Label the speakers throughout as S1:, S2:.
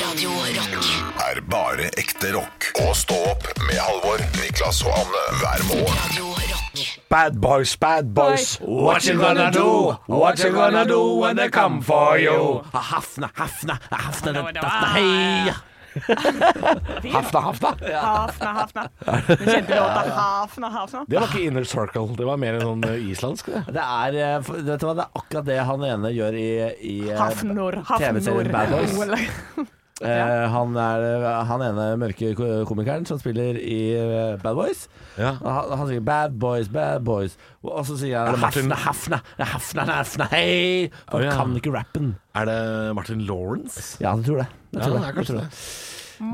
S1: Radio Rock.
S2: er bare ekte rock. Og stå opp med Halvor, Niklas og Anne hver morgen.
S1: Radio Rock.
S3: Bad boys, bad boys. What you gonna do? What you gonna do when they come for you? Hafna, hafna, hafna,
S4: det var-
S3: hafna, hei. Hafna, hafna.
S4: Hafna, hafna. Den kjente låta Hafna, hafna.
S5: Det var ikke Inner Circle, det var mer sånn eh, islandsk. Det.
S3: Det er, eh, f- vet du hva, det er akkurat det han ene gjør i, i eh,
S4: Hafnor, Hafnor.
S3: TV-serien Bad Boys. Eh, han er eh, han ene mørke ko- komikeren som spiller i eh, Bad Boys.
S5: Ja.
S3: Og Han, han sier 'bad boys, bad boys', og og så sier han
S5: det Martin-
S3: 'hafna, hafna, hafna, hafna, hei'. Han
S5: Å, ja.
S3: kan ikke rappen.
S5: Er det Martin Lawrence?
S3: Ja, jeg tror det. Jeg tror
S5: det er kanskje det.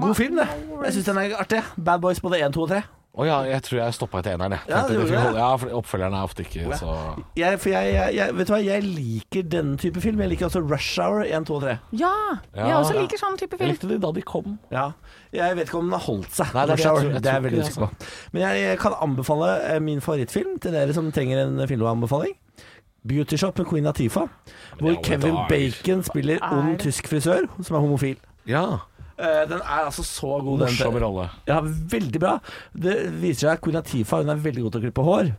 S3: God film, Mm. det. Jeg syns den er artig. Bad Boys både 1, 2 og 3.
S5: Å ja, jeg tror jeg stoppa etter eneren, jeg.
S3: Ja,
S5: Tenkte
S3: du
S5: det
S3: gjorde
S5: fikk
S3: det.
S5: holde- ja, for oppfølgeren er ofte ikke så
S3: Jeg, for jeg, jeg, jeg, vet du hva, jeg liker denne type film. Jeg liker også Rush Hour 1, 2 og 3.
S4: Ja, jeg
S5: Ja,
S4: også
S5: ja.
S4: liker sånn type
S5: Jeg
S4: film.
S5: likte de da de kom.
S3: Ja. Jeg vet ikke om den har holdt seg.
S5: Nei, det er det
S3: Rush
S5: jeg
S3: Hour.
S5: tror- jeg
S3: det er
S5: tror
S3: jeg veldig
S5: ikke det, altså.
S3: usikker på. Men jeg, jeg kan anbefale eh, min favorittfilm til dere som trenger en filmanbefaling. Beauty Shop med Queen Latifah, hvor
S5: alle
S3: Kevin
S5: dager.
S3: Bacon spiller ond
S4: Er-
S3: tysk frisør som er homofil.
S5: Ja.
S3: Eh, Den er altså så god. den-
S5: Morsom rolle.
S3: Ja, veldig bra. Det viser seg at Queen Latifah hun er veldig god til å klippe hår.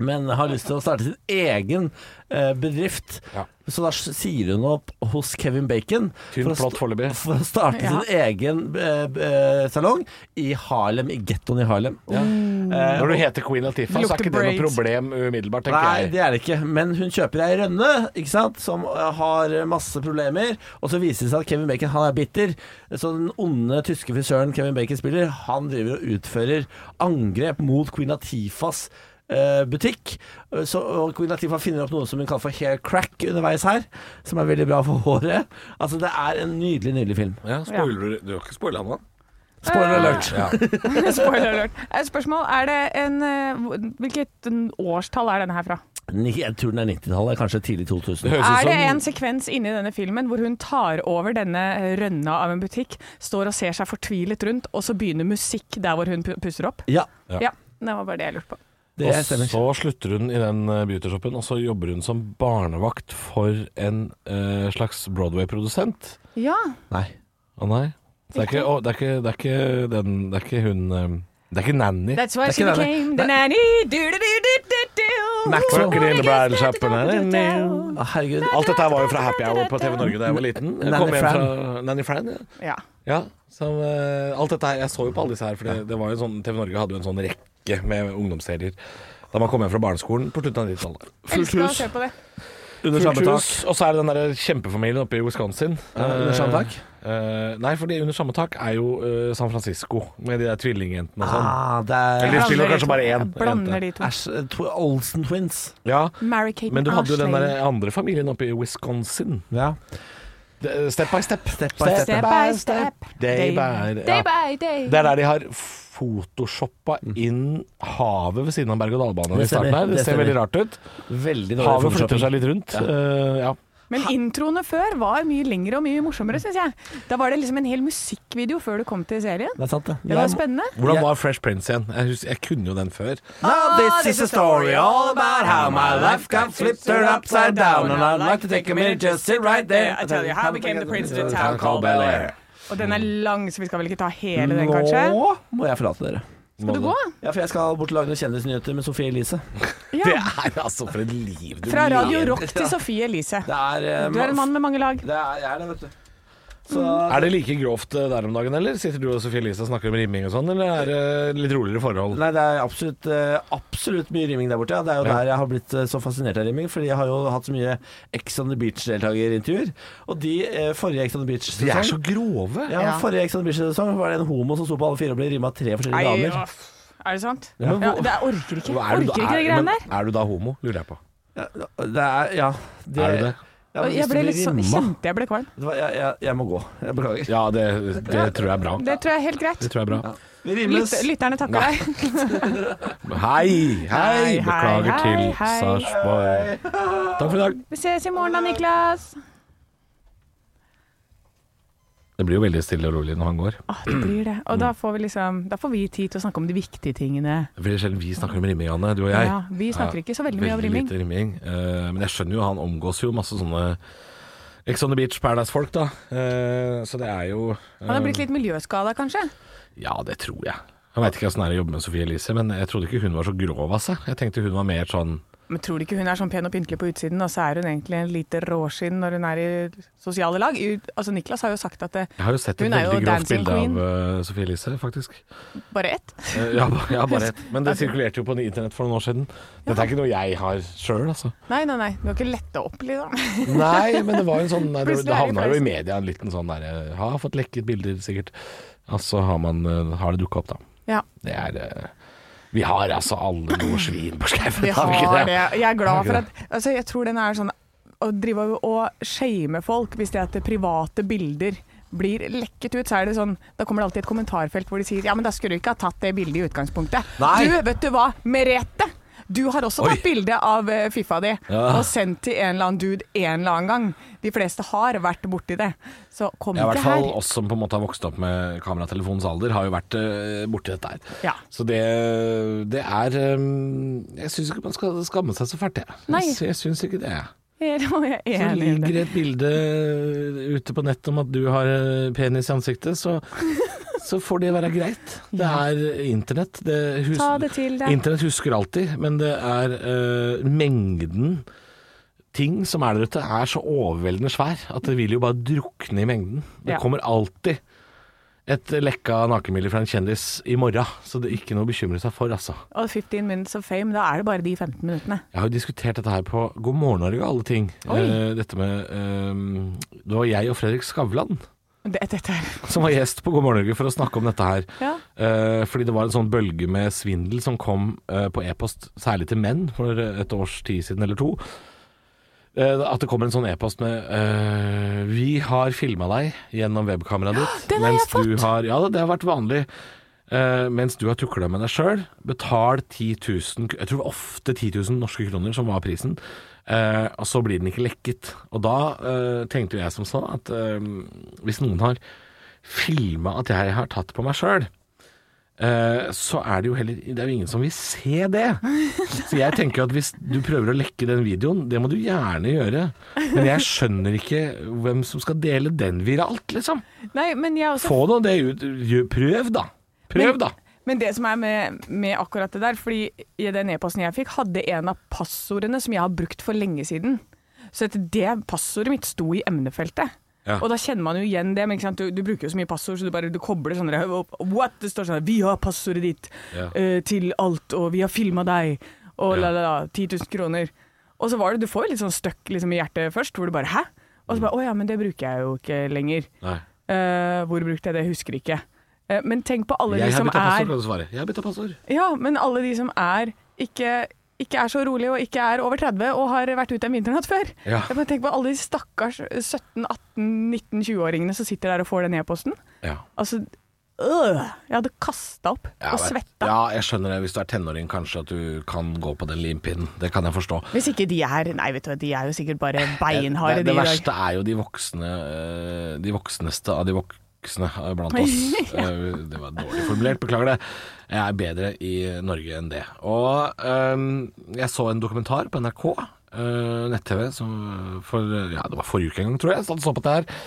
S3: Men har lyst til å starte sin egen eh, bedrift.
S5: Ja.
S3: Så da sier hun opp hos Kevin Bacon
S5: Tynn
S3: å sta-
S5: plott foreløpig.
S3: for å starte
S4: Ja.
S3: sin egen eh, eh, salong i Harlem, i gettoen i Harlem. Eh,
S5: Når du heter Queen Latifah, så er
S4: Lukter
S5: ikke det noe
S4: braids.
S5: problem umiddelbart,
S3: Nei,
S5: tenker jeg.
S3: det er det ikke. Men hun kjøper ei rønne ikke sant? som eh, har masse problemer. Og så viser det seg at Kevin Bacon han er bitter. Så den onde tyske frisøren Kevin Bacon spiller, han driver og utfører angrep mot Queen Latifas eh, butikk. Eh, Så, og Queen Latifah finner opp noe som hun kaller for hair crack underveis her, som er veldig bra for håret. Altså, det er en nydelig, nydelig film.
S5: Ja, spoiler, du har ikke spoila nå?
S3: Spoiler alert.
S4: Spoiler alert. Eh, Spørsmål, er det en eh, hvor- Hvilket årstall er denne her fra?
S3: Ni- Jeg tror den er 90-tallet, kanskje tidlig 2000.
S5: Høres ut
S4: Er det
S5: som-
S4: en sekvens inni denne filmen hvor hun tar over denne eh, rønna av en butikk, står og ser seg fortvilet rundt, og så begynner musikk der hvor hun pu- pusser opp?
S3: Ja,
S5: Ja.
S4: Ja, det var bare det jeg lurte på.
S3: det
S5: Og
S3: stemmer.
S5: så slutter hun i den eh, beautyshoppen, og så jobber hun som barnevakt for en eh, slags Broadway-produsent.
S4: Ja,
S3: Nei.
S5: Å nei. Så det er ikke, å, det er ikke, det er ikke, den, det er ikke hun eh, Det er ikke Nanny.
S4: that's why
S3: Det er
S4: she
S3: ikke denne.
S4: became the
S3: Det-
S4: nanny. Du-du-du-du-du-du.
S3: Maxwell.
S5: Rockin' in the bridal shop, nanny.
S3: Å, herregud.
S5: Alt dette her var jo fra Happy Hour på TV Norge da jeg var liten. Jeg
S3: Nanny
S5: kom hjem
S3: Fran.
S5: fra Nanny Fran. Ja.
S4: Ja.
S5: Ja, som, eh, alt dette her, Jeg så jo på alle disse her, for det, det var jo en sånn, TV Norge hadde jo en sånn rekke med ungdomsserier da man kom hjem fra barneskolen på slutten av 90-tallet.
S4: Elsker å se på det.
S3: Under
S5: Fullt
S3: samme tak.
S5: hus, og så er det den der kjempefamilien oppe i Wisconsin.
S3: Ja, under samme tak?
S5: Eh, eh, nei, fordi Under samme tak er jo eh, San Francisco, med de der tvillingjentene og sånn.
S3: Ah, det er
S5: Eller-
S4: Jeg
S5: spiller
S4: blander
S5: kanskje
S4: de to.
S5: bare én
S4: Jeg Blander de
S5: jente.
S4: to.
S3: Æsj, tw Olsen Twins.
S5: Ja,
S4: Mary-Kate
S5: Men du hadde jo den
S4: Ashley.
S5: der andre familien oppe i Wisconsin.
S3: Ja.
S5: Det- eh, Step by step.
S3: Step by step.
S4: Step by step.
S5: Day by
S4: Day
S5: ja.
S4: by day.
S5: Det er der de har photoshoppa inn havet ved siden av berg-og-dal-banen.
S3: Det
S5: i starten
S3: stemmer,
S5: her. Det
S3: det
S5: ser
S3: stemmer.
S5: veldig rart ut.
S3: Veldig dårlig
S5: Havet
S3: photoshopping.
S5: flytter seg litt rundt. Eh, ja.
S4: Men introene før var mye lengre og mye morsommere, syns jeg. Da var det liksom en hel musikkvideo før du kom til serien.
S3: Det er sant, det.
S4: Det var spennende.
S5: Hvordan
S3: Ja.
S5: var Fresh Prince igjen? Jeg, husker, jeg kunne jo den før.
S3: Now Ah, this is a story all about how my life got flipped upside down And I'd like to take a minute, just sit right there
S4: I tell you how I became the prince of the town called Bel-Air. Og den er lang, så vi skal vel ikke ta hele den, kanskje?
S3: Nå må jeg forlate dere.
S4: Skal du gå?
S3: Ja, for jeg skal bort og lage noen kjendisnyheter med Sofie Elise.
S5: Det
S4: Ja.
S5: er altså for et liv du
S4: Fra Radio
S5: lever.
S4: Rock til Sofie Elise.
S3: Det er Mm. eh,
S4: Du er en mann med mange lag.
S3: Det er jeg er det, vet du. Så
S5: Er det like grovt eh, der om dagen, eller? Sitter du og Sophie Elise og snakker om rimming og sånn, eller er det litt roligere forhold?
S3: Nei, det er absolutt, eh, absolutt mye rimming der borte. Ja. Det er jo
S5: Ja.
S3: der jeg har blitt eh, så fascinert av rimming, fordi jeg har jo hatt så mye Ex on the Beach-deltakerintervjuer. Og de eh, forrige Ex on the
S5: De er så
S3: Beach-sesong
S5: grove.
S3: ja,
S4: Ja.
S3: Forrige Ex on the Beach-sesong var det en homo som sto på alle fire og ble rimma av tre forskjellige
S4: Nei,
S3: damer.
S4: åh, Er det sant?
S3: Ja.
S4: Ja, det jeg orker ikke.
S5: Hva er
S4: Orker
S5: du da-
S4: ikke det
S5: er-
S4: greiene
S5: men
S4: der.
S5: Er du da homo, lurer jeg på.
S3: Det er Ja. Det,
S5: Er du det?
S3: Ja, men
S4: Og
S3: hvis
S4: Jeg
S3: du
S4: ble
S3: blir
S4: litt sånn,
S3: rimma-
S4: kjente jeg ble kvalm.
S3: Vet du hva, jeg, jeg, jeg må gå. Jeg beklager.
S5: Ja, det, det tror jeg er bra.
S4: Det tror jeg er helt greit.
S5: Det tror jeg er bra.
S3: Vi rimmes.
S4: Lyt, lytterne takker deg.
S5: Hei,
S4: Hei,
S5: hei! Beklager
S4: hei,
S5: til
S4: hei.
S5: Sarpsborg. Takk for i dag.
S4: Vi ses i morgen da, Niklas.
S5: Det blir jo veldig stille og rolig når han går.
S4: Åh, Ah, det blir det. Og da får vi liksom Da får vi tid til å snakke om de viktige tingene.
S5: Det blir sjelden vi snakker om rimming, Anne, du og jeg.
S4: Ja, vi snakker ikke så veldig mye om rimming.
S5: lite rimming. Eh, men jeg skjønner jo, han omgås jo masse sånne Ex on the Beach Paradise-folk, da. Eh, så det er jo eh,
S4: Han er blitt litt miljøskada, kanskje?
S5: Ja, det tror jeg. Jeg veit ikke åssen det er å jobbe med Sophie Elise, men jeg trodde ikke hun var så grov av seg. Jeg tenkte hun var mer sånn
S4: Men tror du ikke hun er sånn pen og pyntelig på utsiden, og så er hun egentlig en lite råskinn når hun er i sosiale lag? U- Altså, Niklas har jo sagt at det
S5: Jeg har jo sett et
S4: Hun er jo
S5: veldig grovt
S4: dancing
S5: bilde
S4: queen.
S5: av eh, Sophie Elise, faktisk.
S4: bare ett.
S5: Eh, ja, ba- ja, bare et. Men det sirkulerte jo på internett for noen år siden. Dette er ikke noe jeg har sjøl, altså.
S4: Nei, nei, nei. Du har ikke letta opp, liksom.
S5: Nei, men det var jo en sånn nei, Det,
S4: Plutselig er
S5: det
S4: det
S5: havna jo
S4: flaut.
S5: i media en liten sånn derre Har fått lekket bilder, sikkert. Og så har, man, eh, har det dukka opp, da.
S4: Ja,
S5: Det er eh, Vi har altså alle noe svin på skeiven,
S4: vi
S5: har vi
S4: har
S5: ikke
S4: det.
S5: det?
S4: Jeg er glad
S5: Har vi
S4: for
S5: ikke
S4: at Altså, jeg tror den er sånn Å drive og- og shame folk hvis det er at private bilder blir lekket ut, så er det sånn Da kommer det alltid et kommentarfelt hvor de sier Ja, men da skulle du ikke ha tatt det bildet i utgangspunktet.
S3: Nei.
S4: Du, vet du hva, Merete! Du har også tatt
S5: Oi.
S4: bilde av eh, Fifa di
S5: Ja.
S4: og sendt til en eller annen dude en eller annen gang. De fleste har vært borti det. Så kom
S5: Ja, i
S4: ikke
S5: hvert fall
S4: her.
S5: oss som på en måte har vokst opp med kameratelefonens alder, har jo vært eh, borti dette her.
S4: Ja.
S5: Så det, det er eh, Jeg syns ikke man skal skamme seg så fælt, jeg.
S4: Nei.
S5: Jeg, sy- jeg syns ikke det.
S4: Jeg er
S5: Så
S4: enig i det.
S5: ligger et bilde eh, ute på nettet om at du har eh, penis i ansiktet, så, så får det være greit. Det er eh, internett. Det hus
S4: Ta det til deg.
S5: Internett husker alltid, men det er eh, mengden ting som er der ute, er så overveldende svær at det vil jo bare drukne i mengden. Det
S4: Ja.
S5: kommer alltid et lekka nakenbilde fra en kjendis i morgen, så det er ikke noe å bekymre seg for, altså.
S4: Og 15 minutes of fame, da er det bare de 15 minuttene.
S5: Jeg har jo diskutert dette her på God morgen Norge og alle ting.
S4: Oi.
S5: Eh, dette med eh, Det var jeg og Fredrik Skavlan
S4: Det, dette er
S5: som var gjest på God morgen Norge for å snakke om dette her.
S4: Ja.
S5: Eh, fordi det var en sånn bølge med svindel som kom eh, på e-post, særlig til menn, for et års tid siden eller to. Eh, at det kommer en sånn e-post med eh, 'Vi har filma deg gjennom webkameraet ditt'.
S4: den har jeg
S5: du
S4: fått!
S5: har, ja, det har vært vanlig. Eh, mens du har tukla med deg sjøl, betal 10 000 Jeg tror det var ofte 10 000 norske kroner som var prisen. Eh, og så blir den ikke lekket. Og da eh, tenkte jo jeg som så at eh, hvis noen har filma at jeg har tatt på meg sjøl, eh, så er det jo heller Det er jo ingen som vil se det. Så jeg tenker jo at hvis du prøver å lekke den videoen, det må du gjerne gjøre. Men jeg skjønner ikke hvem som skal dele den viralt, liksom.
S4: Nei, men jeg også
S5: Få nå det ut. Gjø- Prøv, da. Prøv, da.
S4: Men det som er med, med akkurat det der, fordi i den e-posten jeg fikk, hadde en av passordene som jeg har brukt for lenge siden. Så at det passordet mitt sto i emnefeltet.
S5: Ja.
S4: Og da kjenner man jo igjen det, men ikke sant? Du, du bruker jo så mye passord, så du bare du kobler sånn der, What? Det står sånn her, Vi har passordet ditt
S5: Ja.
S4: eh, til alt, og vi har filma deg, og
S5: Ja.
S4: la, la, la. 10 000 kroner. Og så var det Du får jo litt sånn støkk liksom, i hjertet først, hvor du bare Hæ? Og så bare Å ja, men det bruker jeg jo ikke lenger.
S5: Nei.
S4: Eh, hvor brukte jeg det? Husker ikke. Eh, men tenk på alle de
S5: Jeg har
S4: som
S5: bytta passord,
S4: er
S5: kan du svare. Jeg har bytta passord.
S4: ja, men alle de som er ikke, ikke er så rolige og ikke er over 30 og har vært ute en vinternatt før.
S5: Ja.
S4: Jeg bare tenker på alle de stakkars 17-18-19-20-åringene som sitter der og får den e-posten.
S5: Ja.
S4: Altså, øh, jeg hadde kasta opp
S5: Ja,
S4: og
S5: vet-
S4: svetta.
S5: Ja, jeg skjønner det. Hvis du er tenåring, kanskje at du kan gå på den limpinnen. Det kan jeg forstå.
S4: Hvis ikke de er Nei, vet du hva, de er jo sikkert bare
S5: det,
S4: beinharde,
S5: det
S4: de i dag.
S5: verste er jo de voksne eh, De voksneste av de voksne eh, blant oss. Eh, Det var dårlig formulert, beklager det. Jeg er bedre i Norge enn det. Og eh, jeg så en dokumentar på NRK, eh, nett-TV, som for Ja, det var forrige uke en gang, tror jeg. jeg satt og så på det her.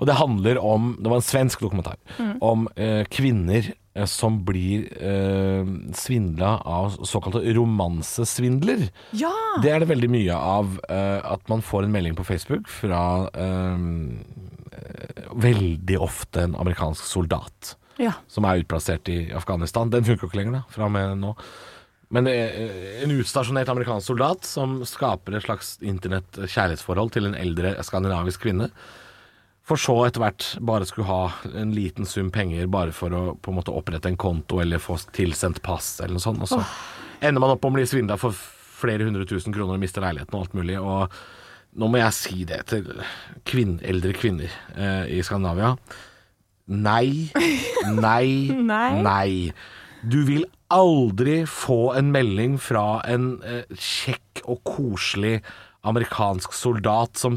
S5: Og det handler om Det var en svensk dokumentar. Om eh, kvinner eh, som blir eh, svindla av såkalte romansesvindler.
S4: Ja!
S5: Det er det veldig mye av eh, at man får en melding på Facebook fra eh, eh, veldig ofte en amerikansk soldat
S4: ja.
S5: som er utplassert i Afghanistan. Den funker jo ikke lenger, da, fra og med nå. Men det er eh, en utstasjonert amerikansk soldat som skaper et slags internett-kjærlighetsforhold til en eldre skandinavisk kvinne. For så etter hvert bare skulle ha en liten sum penger bare for å på en måte opprette en konto eller få tilsendt pass eller noe sånt. Og så ender man opp med å bli svindla for flere hundre tusen kroner og mister leiligheten og alt mulig. Og nå må jeg si det til kvinn, eldre kvinner eh, i Skandinavia. Nei, nei,
S4: Nei.
S5: nei. Du vil aldri få en melding fra en eh, kjekk og koselig amerikansk soldat som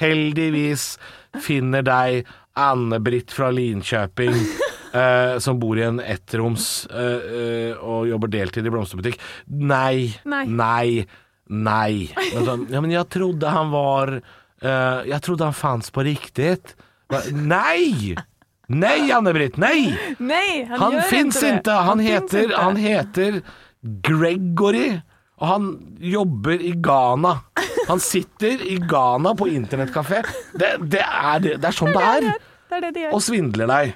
S5: tilfeldigvis finner deg Anne-Britt fra Linkjøping, eh, som bor i en ettroms eh, eh, og jobber deltid i blomsterbutikk. Nei,
S4: Nei.
S5: nei, nei. Men, sånn, ja, men jeg trodde han var Eh, jeg trodde han fantes på riktig. Hva- Nei! Nei, Anne-Britt, nei!
S4: Nei, han,
S5: Han,
S4: gjør
S5: fins
S4: det.
S5: ikke! Han,
S4: finnes
S5: heter,
S4: ikke.
S5: han heter Gregory, og han jobber i Ghana. Han sitter i Ghana på internettkafé. Det, det, er, det det er sånn det er.
S4: Det er det de gjør.
S5: Og svindler deg.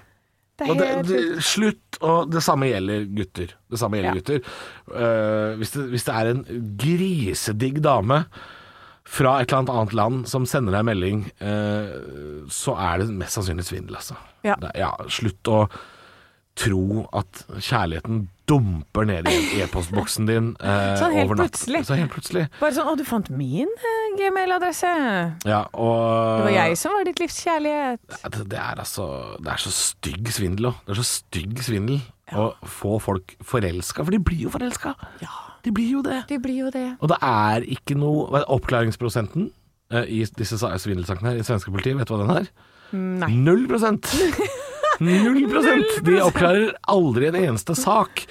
S4: Det
S5: Og
S4: er
S5: det,
S4: helt
S5: det,
S4: sjukt.
S5: slutt, og det samme gjelder gutter. Det samme gjelder
S4: Ja.
S5: gutter. Eh, hvis, det, hvis det er en grisedigg dame fra et eller annet annet land som sender deg en melding, eh, så er det mest sannsynlig svindel, altså.
S4: Ja.
S5: Det, ja, slutt å tro at kjærligheten dumper ned i e-postboksen din eh,
S4: Sånn helt
S5: over natt.
S4: plutselig.
S5: Så helt plutselig.
S4: Bare sånn 'Å, du fant min eh, gmail-adresse'.
S5: Ja, og
S4: Det var jeg som var ditt livs kjærlighet.
S5: Ja, Det, det er altså Det er så stygg svindel òg. Det er så stygg svindel å få folk forelska, for de blir jo forelska. De blir jo det.
S4: Det blir jo det.
S5: Og det er ikke noe hva er det, Oppklaringsprosenten eh, i disse sa- svindelsakene her i svenske politiet, vet du hva den er?
S4: Nei.
S5: Null prosent! Null prosent! De oppklarer aldri en eneste sak.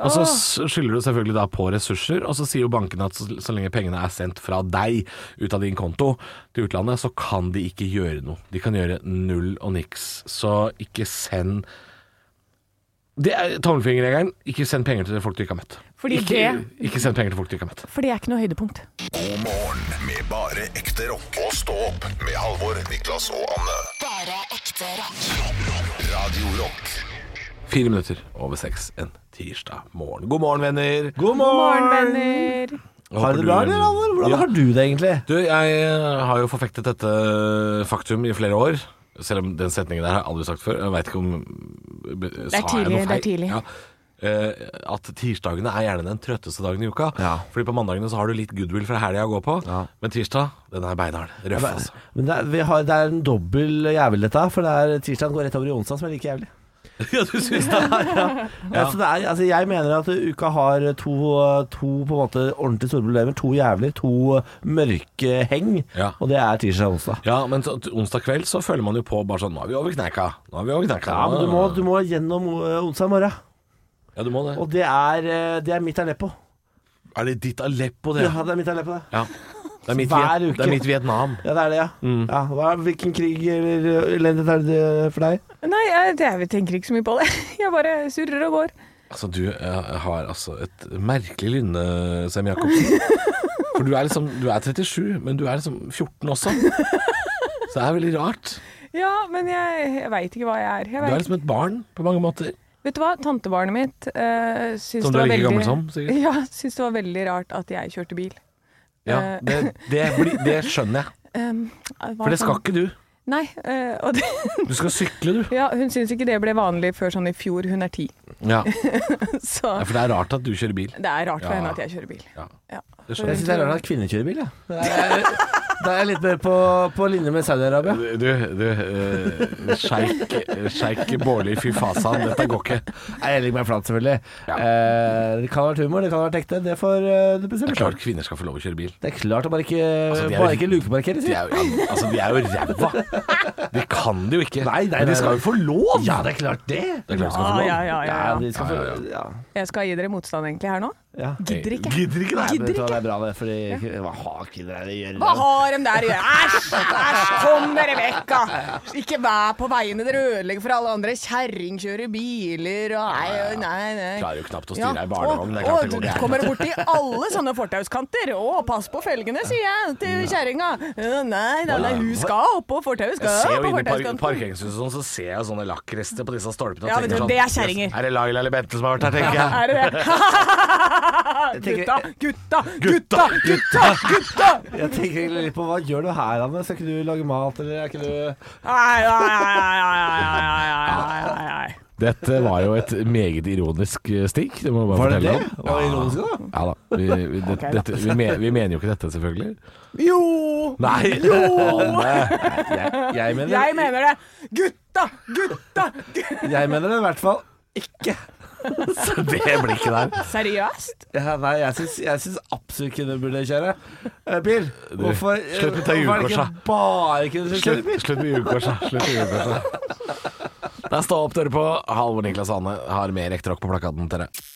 S5: Og så s- skylder du selvfølgelig da på ressurser, og så sier jo bankene at så, så lenge pengene er sendt fra deg ut av din konto til utlandet, så kan de ikke gjøre noe. De kan gjøre null og niks. Så ikke send Det er tommelfingerregelen. Ikke send penger til folk du ikke har møtt.
S4: Fordi
S5: ikke,
S4: det-
S5: ikke send penger til folk du ikke har møtt.
S4: For det er ikke noe høydepunkt.
S2: God morgen med bare ekte rock. Og stå opp med Halvor, Niklas og Anne.
S1: Bare ekte rock.
S2: Radio Rock.
S5: Fire minutter over seks en tirsdag morgen. God morgen, venner.
S3: God morgen!
S4: Morgen, venner.
S3: Har du det bra, eller? Alvar? Hvordan
S5: Ja.
S3: har du det, egentlig?
S5: Du, jeg eh, har jo forfektet dette faktum i flere år. Selv om den setningen der har jeg aldri sagt før. Jeg veit ikke om eh, be- Sa jeg
S4: tidlig,
S5: noe feil?
S4: det er tidlig.
S5: Ja. Eh, at tirsdagene er gjerne den trøtteste dagen i uka.
S3: Ja.
S5: Fordi på mandagene så har du litt goodwill fra helga å gå på.
S3: Ja.
S5: Men tirsdag, den er beinhard. Røff, altså.
S3: Men det er, vi har, det er en dobbel jævel, dette her. For det er tirsdagen går rett over i onsdag, som er like jævlig.
S5: ja, du syns det?
S3: Ja. så det er, altså, jeg mener at uka har to, to på en måte ordentlig store problemer. To jævler, to mørke heng.
S5: Ja.
S3: Og det er tirsdag og onsdag.
S5: Ja, men så, onsdag kveld så føler man jo på bare sånn Nå er vi over kneika. Nå er vi over kneika.
S3: Ja, men du må, du må gjennom eh, onsdag morgen.
S5: Ja, du må det.
S3: Og det er, eh, det er mitt Aleppo.
S5: Er det ditt Aleppo, det?
S3: Ja, det er mitt Aleppo, det.
S5: Ja. Det, er mitt
S3: Hver
S5: Viet-
S3: uke.
S5: det er mitt Vietnam.
S3: Ja, det er det, ja. ja hva, hvilken krig eller eh, elendighet er det for deg?
S4: Nei, jeg, jeg tenker ikke så mye på det. Jeg bare surrer og går.
S5: Altså, du eh, har altså et merkelig lynne, Sem Jacobsen. For du er liksom Du er 37, men du er liksom 14 også. Så det er veldig rart.
S4: Ja, men jeg, jeg veit ikke hva jeg er. Jeg
S5: Du er
S4: vet,
S5: liksom et barn på mange måter.
S4: vet du hva, tantebarnet mitt uh, syns
S5: Som
S4: det
S5: Sånn du er
S4: var
S5: like
S4: veldig
S5: gammel som, sikkert.
S4: Ja, syns det var veldig rart at jeg kjørte bil.
S5: Ja,
S4: Eh.
S5: det, det, blir- det skjønner jeg.
S4: Um, jeg var
S5: For det skal
S4: sånn-
S5: ikke du.
S4: Nei. eh, og det,
S5: Du skal sykle, du.
S4: ja, hun syns ikke det ble vanlig før sånn i fjor. Hun er ti.
S5: Ja,
S4: Så
S5: For det er rart at du kjører bil.
S4: det er rart for
S5: Ja.
S4: henne at jeg kjører bil.
S5: Ja,
S4: Ja.
S5: det
S3: Jeg
S5: skjønner jeg.
S3: syns det er rart at kvinner kjører bil, jeg. Ja. Det er- Da er jeg litt mer på, på linje med Saudi-Arabia.
S5: Du, du eh, Sjeik Sjeik Bårli, fy fasan, dette går ikke.
S3: Nei, Jeg legger meg flat, selvfølgelig.
S5: Ja.
S3: Eh, det kan ha vært humor, det kan ha vært ekte. Det får eh, du
S5: Det
S3: bestemme selv.
S5: er klart kvinner skal få lov å kjøre bil.
S3: Det er klart å bare ikke,
S5: Altså, de er jo-
S3: bare ikke lukemarkere,
S5: De
S3: sier jeg.
S5: er jo, ja, altså, de er jo ræva. De kan det jo ikke.
S3: Nei, nei,
S5: Men
S3: nei,
S5: de skal
S3: nei.
S5: jo få lov!
S3: Ja, det er klart det!
S5: Det er klart de skal få
S4: Ah,
S5: lov.
S4: ja, ja, ja,
S3: Ja,
S4: ja.
S3: de skal
S5: Ja,
S3: få
S5: ja,
S3: Ja.
S4: Jeg skal gi dere motstand egentlig her nå.
S3: ja.
S4: Gidder ikke.
S5: Gidder ikke, nei.
S3: Men vet du hva, det er bra, det, fordi Hva har kvinner her å gjøre?
S4: Hva har de der å gjøre? Æsj! Æsj! Kom dere vekk, da! Ikke vær på veiene, dere ødelegger for alle andre. Kjerring kjører biler og Nei, nei, nei.
S5: Klarer jo knapt å
S4: Ja,
S5: styre ei barnevogn. Det er
S4: og-
S5: klart det går
S4: og
S5: gærent.
S4: kommer borti alle sånne fortauskanter. Å, pass på felgene, sier jeg til kjerringa. Ja, Nei, nei, nei, hun skal oppå fortauet. Skal
S5: Jeg ser jo
S4: på
S5: inne i par
S4: fortauskanten.
S5: parkeringshuset sånn, så ser jeg sånne lakkrester på disse stolpene. og
S4: Ja, vet du,
S5: tenker
S4: det er
S5: sånn,
S4: kjerringer.
S5: Er det Laila eller Bente som har vært her, tenker
S4: Ja,
S5: jeg.
S4: er det det? Gutta, gutta, gutta, gutta! gutta.
S3: Jeg tenker egentlig litt på hva gjør du her, Anne? Skal ikke du lage mat, eller er ikke du
S4: Ai, ai, ai, ai, ai, ai, ai, ai, ai, ai.
S5: Dette var jo et meget ironisk eh, stikk. Det må jeg bare
S3: Var det
S5: fortelle
S3: det?
S5: om.
S3: Var det ironisk, da?
S5: Ja da. Vi, vi, det, dette, vi, men, vi mener jo ikke dette, selvfølgelig.
S3: Jo!
S5: Nei! Anne.
S3: Jeg mener,
S4: Jeg mener det. Gutta, gutta! gu-
S3: jeg mener det i hvert fall ikke.
S5: Så det blir ikke der.
S4: Seriøst?
S3: Ja, nei, jeg syns, jeg syns absolutt kvinner burde kjøre eh, bil. Hvorfor, eh,
S5: slutt med
S3: hvorfor er
S5: det
S3: det
S5: julekorset.
S3: ikke bare kvinner som kjører
S5: Slutt,
S3: bil?
S5: slutt med julekorset. Slutt med julekorset. Der står opp dere på. Halvor Niklas Ane har mer ekte rock på plakaten til dere.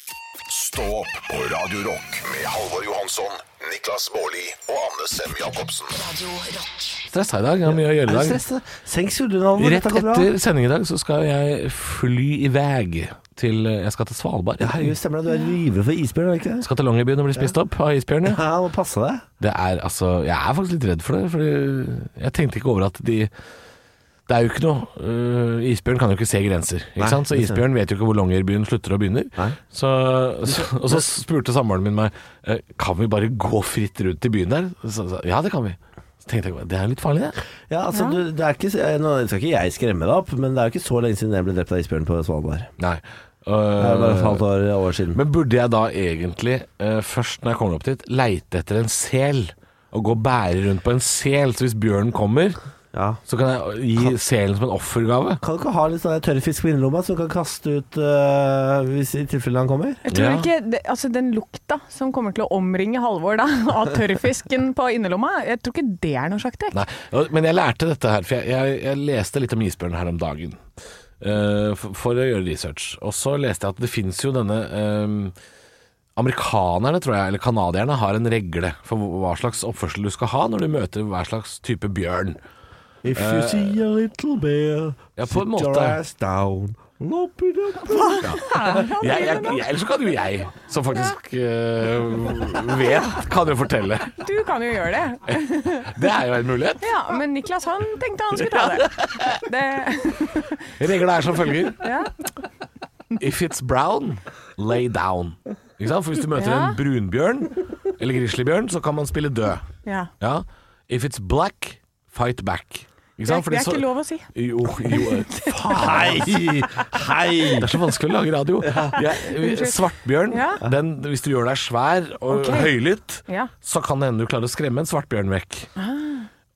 S2: Stå opp på Radio Rock med Halvor Johansson, Niklas Niklas Baarli og Anne Sem Jacobsen.
S1: Radio Rock.
S5: Stressa i dag. Jeg har mye å gjøre i
S3: Er du
S5: dag.
S3: stresset? Senk skuldrene.
S5: Rett
S3: dette går bra.
S5: etter sending i dag så skal jeg fly i vei til eh, Jeg skal til Svalbard.
S3: Ja, herregud, stemmer det. Du er river for isbjørn, er du ikke det?
S5: Skal til Longyearbyen og bli spist opp av isbjørn. Ja.
S3: Ja, må passe deg.
S5: Det er altså Jeg er faktisk litt redd for det, Fordi jeg tenkte ikke over at de Det er jo ikke noe øh, Isbjørn kan jo ikke se grenser, ikke
S3: Nei,
S5: sant? Så
S3: det ser jeg.
S5: isbjørn vet jo ikke hvor Longyearbyen slutter og begynner.
S3: Nei.
S5: Så, så, og så spurte samboeren min meg eh, Kan vi bare gå fritt rundt i byen der. Så, så, ja, det kan vi. Så tenkte jeg, Det er litt farlig, det.
S3: Ja, altså, Du, det er ikke, eh, nå skal ikke jeg skremme deg opp, men det er jo ikke så lenge siden jeg ble drept av isbjørn på Svalbard.
S5: Nei.
S3: Det er bare et halvt
S5: Øh,
S3: år, år siden.
S5: men burde jeg da egentlig, eh, først når jeg kommer opp dit, leite etter en sel? Og gå og bære rundt på en sel? Så hvis bjørnen kommer,
S3: Ja.
S5: så kan jeg gi selen som en offergave?
S3: Kan du ikke ha litt sånn der tørrfisk på innerlomma som du kan kaste ut eh, hvis i tilfelle han kommer?
S4: Jeg tror
S5: Ja.
S4: ikke, det- altså Den lukta som kommer til å omringe Halvor da, av tørrfisken på innerlomma, jeg tror ikke det er noe sjakktrekk.
S5: Nei, og- men jeg lærte dette her, for jeg, jeg, jeg leste litt om isbjørn her om dagen. eh, for, for å gjøre research. Og så leste jeg at det fins jo denne eh, Amerikanerne, tror jeg, eller canadierne, har en regle for hva- hva slags oppførsel du skal ha når du møter hver slags type bjørn.
S3: If you see a little bear,
S5: Ja, på en
S3: sit your
S5: måte.
S3: ass down. Lop it up.
S5: Jeg, jeg, jeg, ellers så kan jo jeg, som faktisk eh, vet, kan jo fortelle.
S4: Du kan jo gjøre det.
S5: Det er jo en mulighet.
S4: Ja, Men Niklas han tenkte han skulle ta det. det
S5: Regla er som følger.
S4: ja.
S5: If it's brown, lay down. Ikke sant? For hvis du møter
S4: Ja.
S5: en brunbjørn eller grizzlybjørn, så kan man spille død.
S4: Ja.
S5: Ja. If it's black, fight back. Ikke
S4: Det, er,
S5: sant?
S4: det er ikke lov å si.
S5: Jo, jo faen.
S3: Hei! Hei!
S5: Det er så vanskelig å lage radio. Jeg, svartbjørn,
S4: Ja.
S5: den, hvis du gjør deg svær og
S4: Ok.
S5: høylytt,
S4: Ja. Ah.
S5: så kan det hende du klarer å skremme en svartbjørn vekk.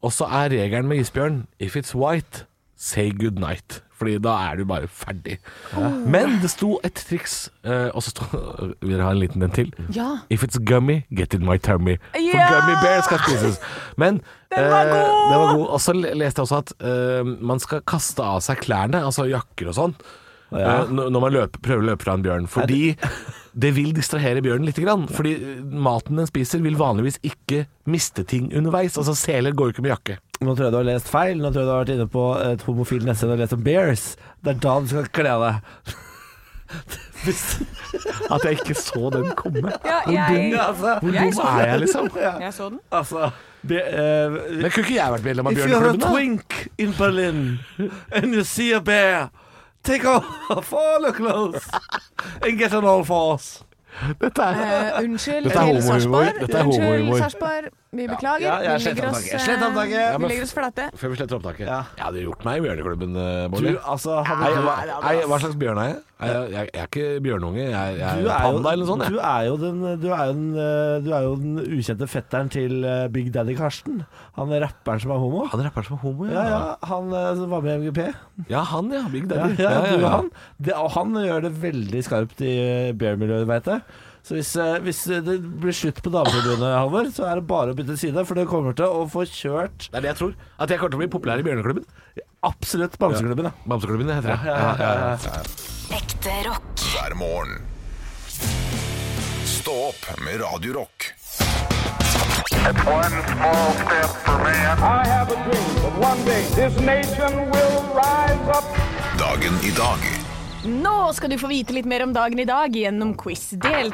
S5: Og så er regelen med isbjørn if it's white, say good night. Fordi da er du bare ferdig.
S4: Ah.
S5: Men det sto et triks, eh, og så sto Vil dere ha en liten en til?
S4: Ja.
S5: If it's gummy, get in my tummy. For
S4: Ja!
S5: gummy bear skal spises. Men
S4: Den var
S5: eh,
S4: god!
S5: den var god. Og så le- leste jeg også at eh, man skal kaste av seg klærne, altså jakker og sånn.
S3: Ja.
S5: eh, Når når man løper, prøver å løpe fra en bjørn. Fordi det vil distrahere bjørnen litt. Grann, fordi eh, maten den spiser vil vanligvis ikke miste ting underveis. Altså Seler går jo ikke med jakke.
S3: Nå tror jeg du har lest feil. Nå tror jeg du har vært inne på et homofilt nettsted og lest om bears. Det er da du skal kle av deg. Hvis-
S5: At jeg ikke så den komme.
S4: Ja,
S5: Hvor
S4: jeg-
S5: dum,
S3: altså,
S5: hvor
S4: jeg
S5: dum
S4: så
S5: er jeg, liksom?
S4: Jeg så den.
S3: altså be, eh,
S5: Men kunne ikke jeg vært medlem av
S3: If you have a
S5: Bjørneklubben? da?
S3: twink in Berlin and you see a bear, take off all your clothes and get on all fours.
S5: Dette er
S4: Eh, unnskyld,
S5: Dette er
S4: Lille
S5: homohumor.
S4: Sarpsborg.
S5: Dette er homohumor.
S4: Unnskyld, Sarpsborg. Vi beklager.
S3: Ja, ja,
S4: vi
S3: slett
S4: legger oss,
S3: opptaket. Slett
S4: eh,
S3: opptaket.
S5: Ja,
S4: Vi
S5: men-
S4: legger oss flate.
S5: Før vi sletter opptaket.
S3: Ja.
S5: Jeg hadde gjort meg i Bjørneklubben, eh,
S3: Du,
S5: Bård.
S3: altså
S5: Nei,
S3: hadde
S5: jeg, var- nei, hva slags bjørn er jeg? Er jeg, jeg, jeg er ikke bjørnunge, jeg, jeg er,
S3: du er, jo,
S5: panda eller noe sånt. jeg.
S3: du, er jo den, du, er jo den, eh, du er jo den ukjente fetteren til eh, Big Daddy Karsten. Han er rapperen som er homo.
S5: Han rapperen som er homo,
S3: Ja, ja, Han eh, som var med i MGP.
S5: Ja, han ja. Big
S3: Ja,
S5: Daddy.
S3: ja, du og han. Det, og han gjør det veldig skarpt i eh, bear-miljøet, veit jeg. Så hvis, eh, hvis det blir slutt på Dameforbundet, Halvor, så er det bare å bytte side. For det kommer til å få kjørt
S5: Det er det jeg tror. At jeg kommer til å bli populær i Bjørneklubben.
S3: absolutt bamseklubben. Ja.
S5: Bamseklubben, det heter jeg. Ja, ja, ja.
S1: Ekte rock.
S2: hver morgen. Stå opp med Radio Rock.
S6: One small step for man.
S7: I have a dream that one day this nation will rise up.
S2: Dagen i dag
S4: Nå skal du få vite litt mer om dagen i dag gjennom quiz. Del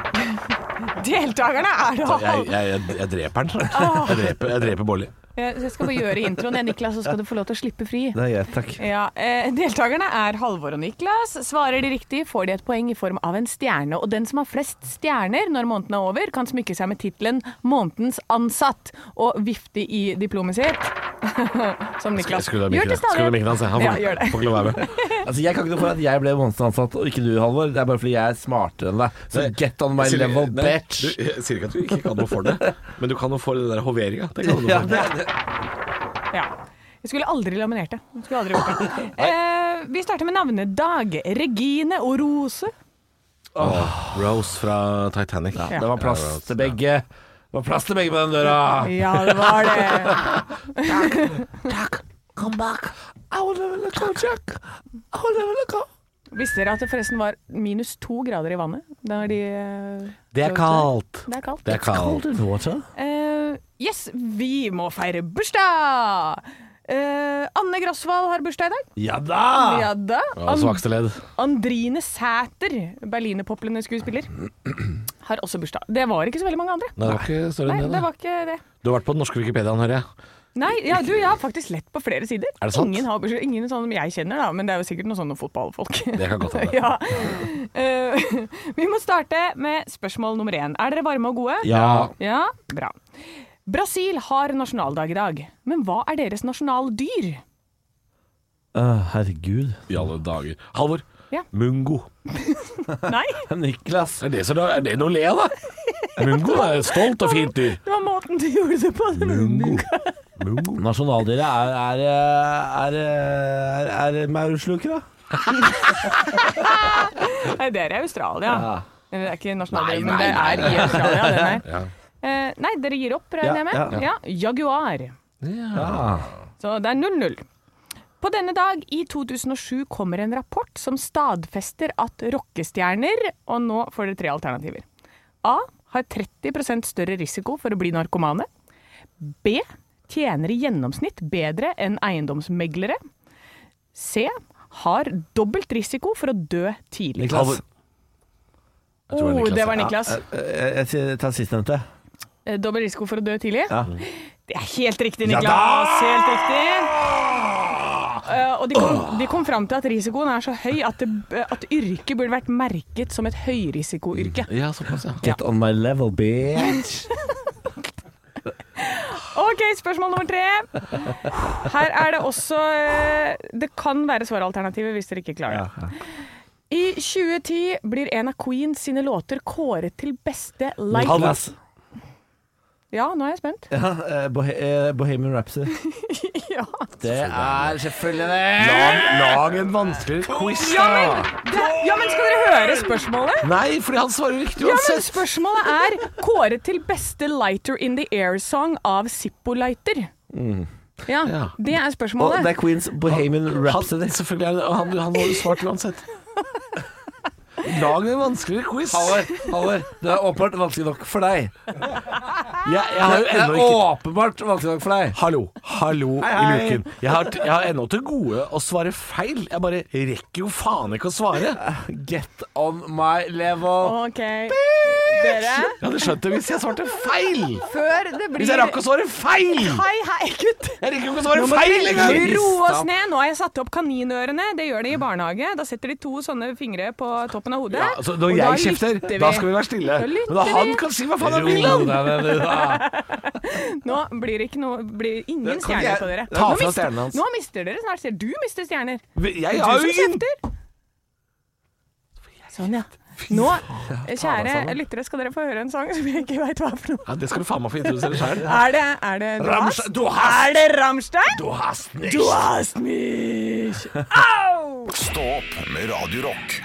S4: Deltakerne er da
S5: Jeg, jeg, jeg, jeg dreper han. Jeg dreper, jeg dreper Bolli.
S4: Eh, Jeg skal bare gjøre introen, jeg, Niklas, så skal du få lov til å slippe fri.
S3: Det er greit, takk.
S4: Ja, eh, Deltakerne er Halvor og Niklas. Svarer de riktig, får de et poeng i form av en stjerne. Og den som har flest stjerner når måneden er over, kan smykke seg med tittelen 'Månedens ansatt' og vifte i diplomet sitt. Som Niklas
S5: Skru
S4: gjør
S5: av
S4: til
S5: mikken Skru av
S4: stadighet.
S5: mikken hans. jeg. Han
S4: Ja, gjør
S5: får,
S4: det.
S5: får ikke lov å være med.
S3: Altså, jeg kan ikke noe for at jeg ble monster ansatt, og ikke du, Halvor. Det er bare fordi jeg er smartere enn deg. Så get on my
S5: Jeg sier-
S3: level,
S5: nei,
S3: bitch.
S5: Du, jeg sier ikke at du ikke kan noe for det, men du kan noe for den der hoveringa. Det kan du
S3: Ja,
S5: for.
S3: det, det.
S4: Ja. Jeg skulle aldri laminert det. Jeg Skulle aldri gjort det. Eh, vi starter med navnedag. Regine og Rose.
S5: Rose fra Titanic.
S4: Ja.
S3: det var plass til begge. Det var plass til begge på den døra.
S4: Ja, det var det.
S3: Come back. I will never let go, Jack. I will never let go.
S4: Visste dere at det forresten var minus to grader i vannet? Da de, eh,
S5: Det er
S4: prøvde-
S5: kaldt.
S4: Det er kaldt.
S5: Det er kaldt.
S4: Eh, yes, vi må feire bursdag! Eh, Anne Grosvold har bursdag i dag.
S3: Ja da!
S4: Ja da.
S5: Ja, Svakeste ledd.
S4: Andrine Sæter, berlinerpoplende skuespiller, har også bursdag. Det var ikke så veldig mange andre.
S5: Nei, det var ikke større
S4: Nei,
S5: enn det.
S4: det
S5: da.
S4: var ikke det.
S5: Du har vært på den norske Wikipediaen, hører jeg.
S4: Nei, ja, du, jeg har faktisk lett på flere sider.
S5: Er det sant?
S4: Ingen, har, bursdag- ingen sånne som jeg kjenner, da, men det er jo sikkert noen sånne fotballfolk.
S5: Det kan godt hende.
S4: ja. Eh, vi må starte med spørsmål nummer én. Er dere varme og gode?
S3: Ja.
S4: Ja, bra. Brasil har nasjonaldag i dag, men hva er deres nasjonaldyr?
S3: Øh, herregud.
S5: I alle dager. Halvor.
S4: Ja.
S5: Mungo.
S4: Nei,
S3: Niklas.
S5: Er det, så, er det noe å le av? Mungo er et stolt og fint dyr.
S4: det var måten du gjorde det på.
S5: Mungo. Mungo.
S3: Nasjonaldyret er, er, er, er, er, er maursluker, da.
S4: Nei, dere er Australia. Eller Det er ikke nasjonaldyr,
S5: Nei,
S4: men det
S5: nei,
S4: er i Australia. Den her.
S5: Ja.
S4: Eh, nei, dere gir opp, regner jeg med?
S3: Ja, ja.
S4: ja. Jaguar.
S5: Ja.
S4: Så det er 0-0. På denne dag i 2007 kommer en rapport som stadfester at rockestjerner Og nå får dere tre alternativer. A. Har 30 større risiko for å bli narkomane. B. Tjener i gjennomsnitt bedre enn eiendomsmeglere. C. Har dobbelt risiko for å dø tidlig.
S3: Niklas.
S5: Jeg tror det er
S4: Oh,
S5: Niklas,
S4: det var
S5: ja.
S4: Niklas.
S3: Jeg, Eh, jeg, sier- tar sistnevnte.
S4: Eh, Dobbel risiko for å dø tidlig?
S3: Ja.
S4: Det er helt riktig,
S3: Ja
S4: Niklas.
S3: da!
S4: helt riktig. Eh, og de kom, de kom fram til at risikoen er så høy at, det, at yrket burde vært merket som et høyrisikoyrke.
S5: Ja, såpass, ja.
S3: Get on my level, bitch.
S4: OK, spørsmål nummer tre. Her er det også eh, Det kan være svaralternativer hvis dere ikke klarer det. I 2010 blir en av Queens sine låter kåret til beste live...
S3: Niklas.
S4: Ja, nå er jeg spent.
S3: Ja, eh, Bohe- eh, Bohemian Rhapsody.
S4: Ja.
S3: Det er selvfølgelig det.
S5: Lag, lag en vanskeligere quiz,
S4: Ja, men, det, ja, men skal dere høre spørsmålet?
S5: Nei, fordi han svarer riktig
S4: Ja, men
S5: uansett.
S4: spørsmålet er kåret til beste Lighter in the Air-song av Zippo Lighter. Ja,
S5: Mm. Ja.
S4: det er
S3: Og
S4: spørsmålet.
S3: det er Queens Bohemian Rhapsody.
S5: han, selvfølgelig er det, og han, han har jo svart uansett. Lag en vanskeligere quiz.
S3: Halvor, Halvor, det er åpenbart vanskelig nok for deg. Jeg, jeg har jo
S5: Det er
S3: ennå ikke Åpenbart vanskelig nok for deg.
S5: Hallo, hallo
S3: hei.
S5: i luken. Jeg har, jeg har ennå til gode å svare feil. Jeg bare rekker jo faen ikke å svare.
S3: Get on my level.
S4: Ok, dere.
S5: Jeg hadde skjønt det hvis jeg svarte feil.
S4: Før det blir
S5: Hvis jeg rakk å svare feil!
S4: Hei, hei, gutt.
S5: Jeg rekker jo ikke å svare feil engang!
S4: Ro oss ned. Nå har jeg satt opp kaninørene. Det gjør de i barnehage. Da setter de to sånne fingre på toppen av hodet.
S5: Ja, altså, når
S4: Og da
S5: jeg kjefter,
S4: lytter vi.
S5: da skal vi være stille.
S4: Da lytter
S5: Men da han
S4: vi.
S5: kan si hva faen han vil! han.
S3: ned, du, da.
S4: Nå blir det ikke noe, blir ingen
S3: kan
S4: stjerner
S3: jeg-
S4: på dere.
S5: Ta
S4: Nå
S5: fra
S4: mister-
S5: stjernen hans.
S4: Nå mister dere snart stjerner. Du mister stjerner.
S5: Jeg
S4: Du
S5: har
S4: som
S5: jo ingen
S4: kjefter. Sånn, ja. Nå, kjære lyttere, skal dere få høre en sang som jeg ikke veit hva er for noe.
S5: ja, Det skal du faen meg få introdusere sjøl.
S4: Er det, er det du hast?
S3: Du hast,
S4: Er det Rammstein?
S3: du hast nicht.
S4: Du hast mich! Au!
S2: Stå opp med Radio Rock.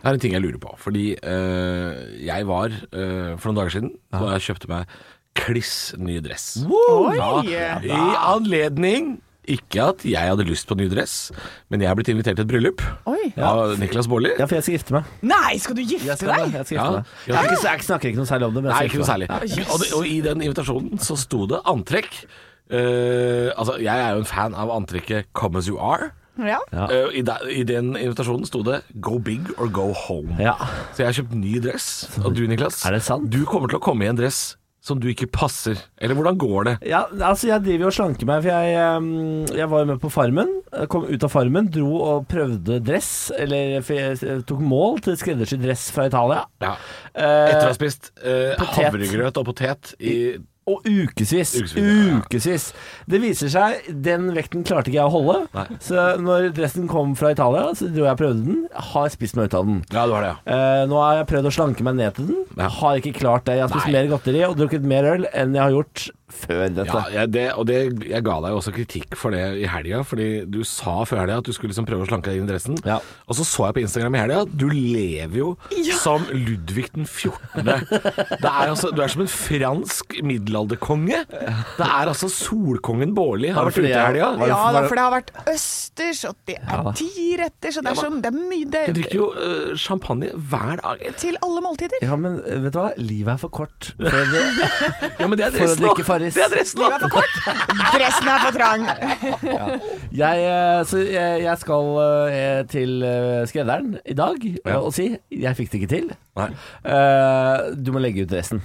S5: Det er en ting jeg lurer på. Fordi eh, jeg var eh, for noen dager siden og jeg kjøpte meg kliss ny dress. Ja, I anledning ikke at jeg hadde lyst på ny dress, men jeg er blitt invitert til et bryllup
S4: Oi.
S5: av Niklas Baarli.
S3: Ja, for jeg skal gifte meg.
S4: Nei, skal du gifte
S3: Jeg, skal,
S4: deg?
S3: jeg, skal
S5: Ja.
S3: gifte meg.
S5: Ja.
S3: Jeg, er ikke, jeg snakker ikke noe særlig om det. Men
S5: Nei,
S3: jeg
S5: ikke noe
S3: skal gifte meg.
S5: særlig. Og, det- og i den invitasjonen så sto det antrekk. Eh, altså, jeg er jo en fan av antrekket 'Come as you are'.
S4: Ja.
S5: Eh, i, da- I den invitasjonen sto det 'Go big or go home'.
S3: Ja.
S5: Så jeg har kjøpt ny dress. Og du, Niklas,
S3: Er det sant?
S5: du kommer til å komme i en dress som du ikke passer. Eller hvordan går det?
S3: Ja, altså jeg driver jo og slanker meg, for jeg, ehm, jeg var jo med på Farmen. Jeg Kom ut av Farmen, dro og prøvde dress, eller for jeg eh, tok mål til skreddersydd dress fra Italia.
S5: Ja.
S3: Eh,
S5: Etter å ha spist eh,
S3: potet.
S5: havregrøt og potet i
S3: Og ukevis.
S5: Ukevis, ja.
S3: Ukevis. Det viser seg, den vekten klarte ikke jeg å holde.
S5: Nei.
S3: Så når dressen kom fra Italia, så dro jeg og prøvde den. Har spist meg ut av den.
S5: Ja, det var det, ja.
S3: Eh, nå har jeg prøvd å slanke meg ned til den.
S5: Ja.
S3: Har ikke klart det. Jeg har spist
S5: Nei.
S3: mer godteri og drukket mer øl enn jeg har gjort før dette.
S5: Ja, jeg, det, og det, jeg ga deg jo også kritikk for det i helga, fordi du sa før helga at du skulle liksom prøve å slanke deg inn i dressen.
S3: Ja.
S5: Og så så jeg på Instagram i helga at du lever jo som Ludvig den 14. Det er altså, du er som en fransk middelalderkonge. Det er altså solkongen Bårli. Har
S3: Var det
S5: du fulgt det i
S3: jeg-
S5: helga?
S3: var det-
S4: Ja, da,
S3: var det-
S4: for det har vært østers, og det er tiretters, og det er, sånn, det er mye
S5: Jeg
S4: det,
S5: drikker jo eh, champagne hver dag.
S4: Til alle måltider.
S3: Ja, men eh, vet du hva? Livet er for kort. For det,
S5: Ja, men det er
S3: For å
S5: dressen nå.
S3: drikke Farris.
S5: Det er dressen nå.
S4: Dressen er for trang.
S3: jeg, eh, så jeg, jeg skal eh, til eh, skredderen i dag
S5: Ja.
S3: og si jeg fikk det ikke til.
S5: Nei,
S3: Eh, du må legge ut dressen.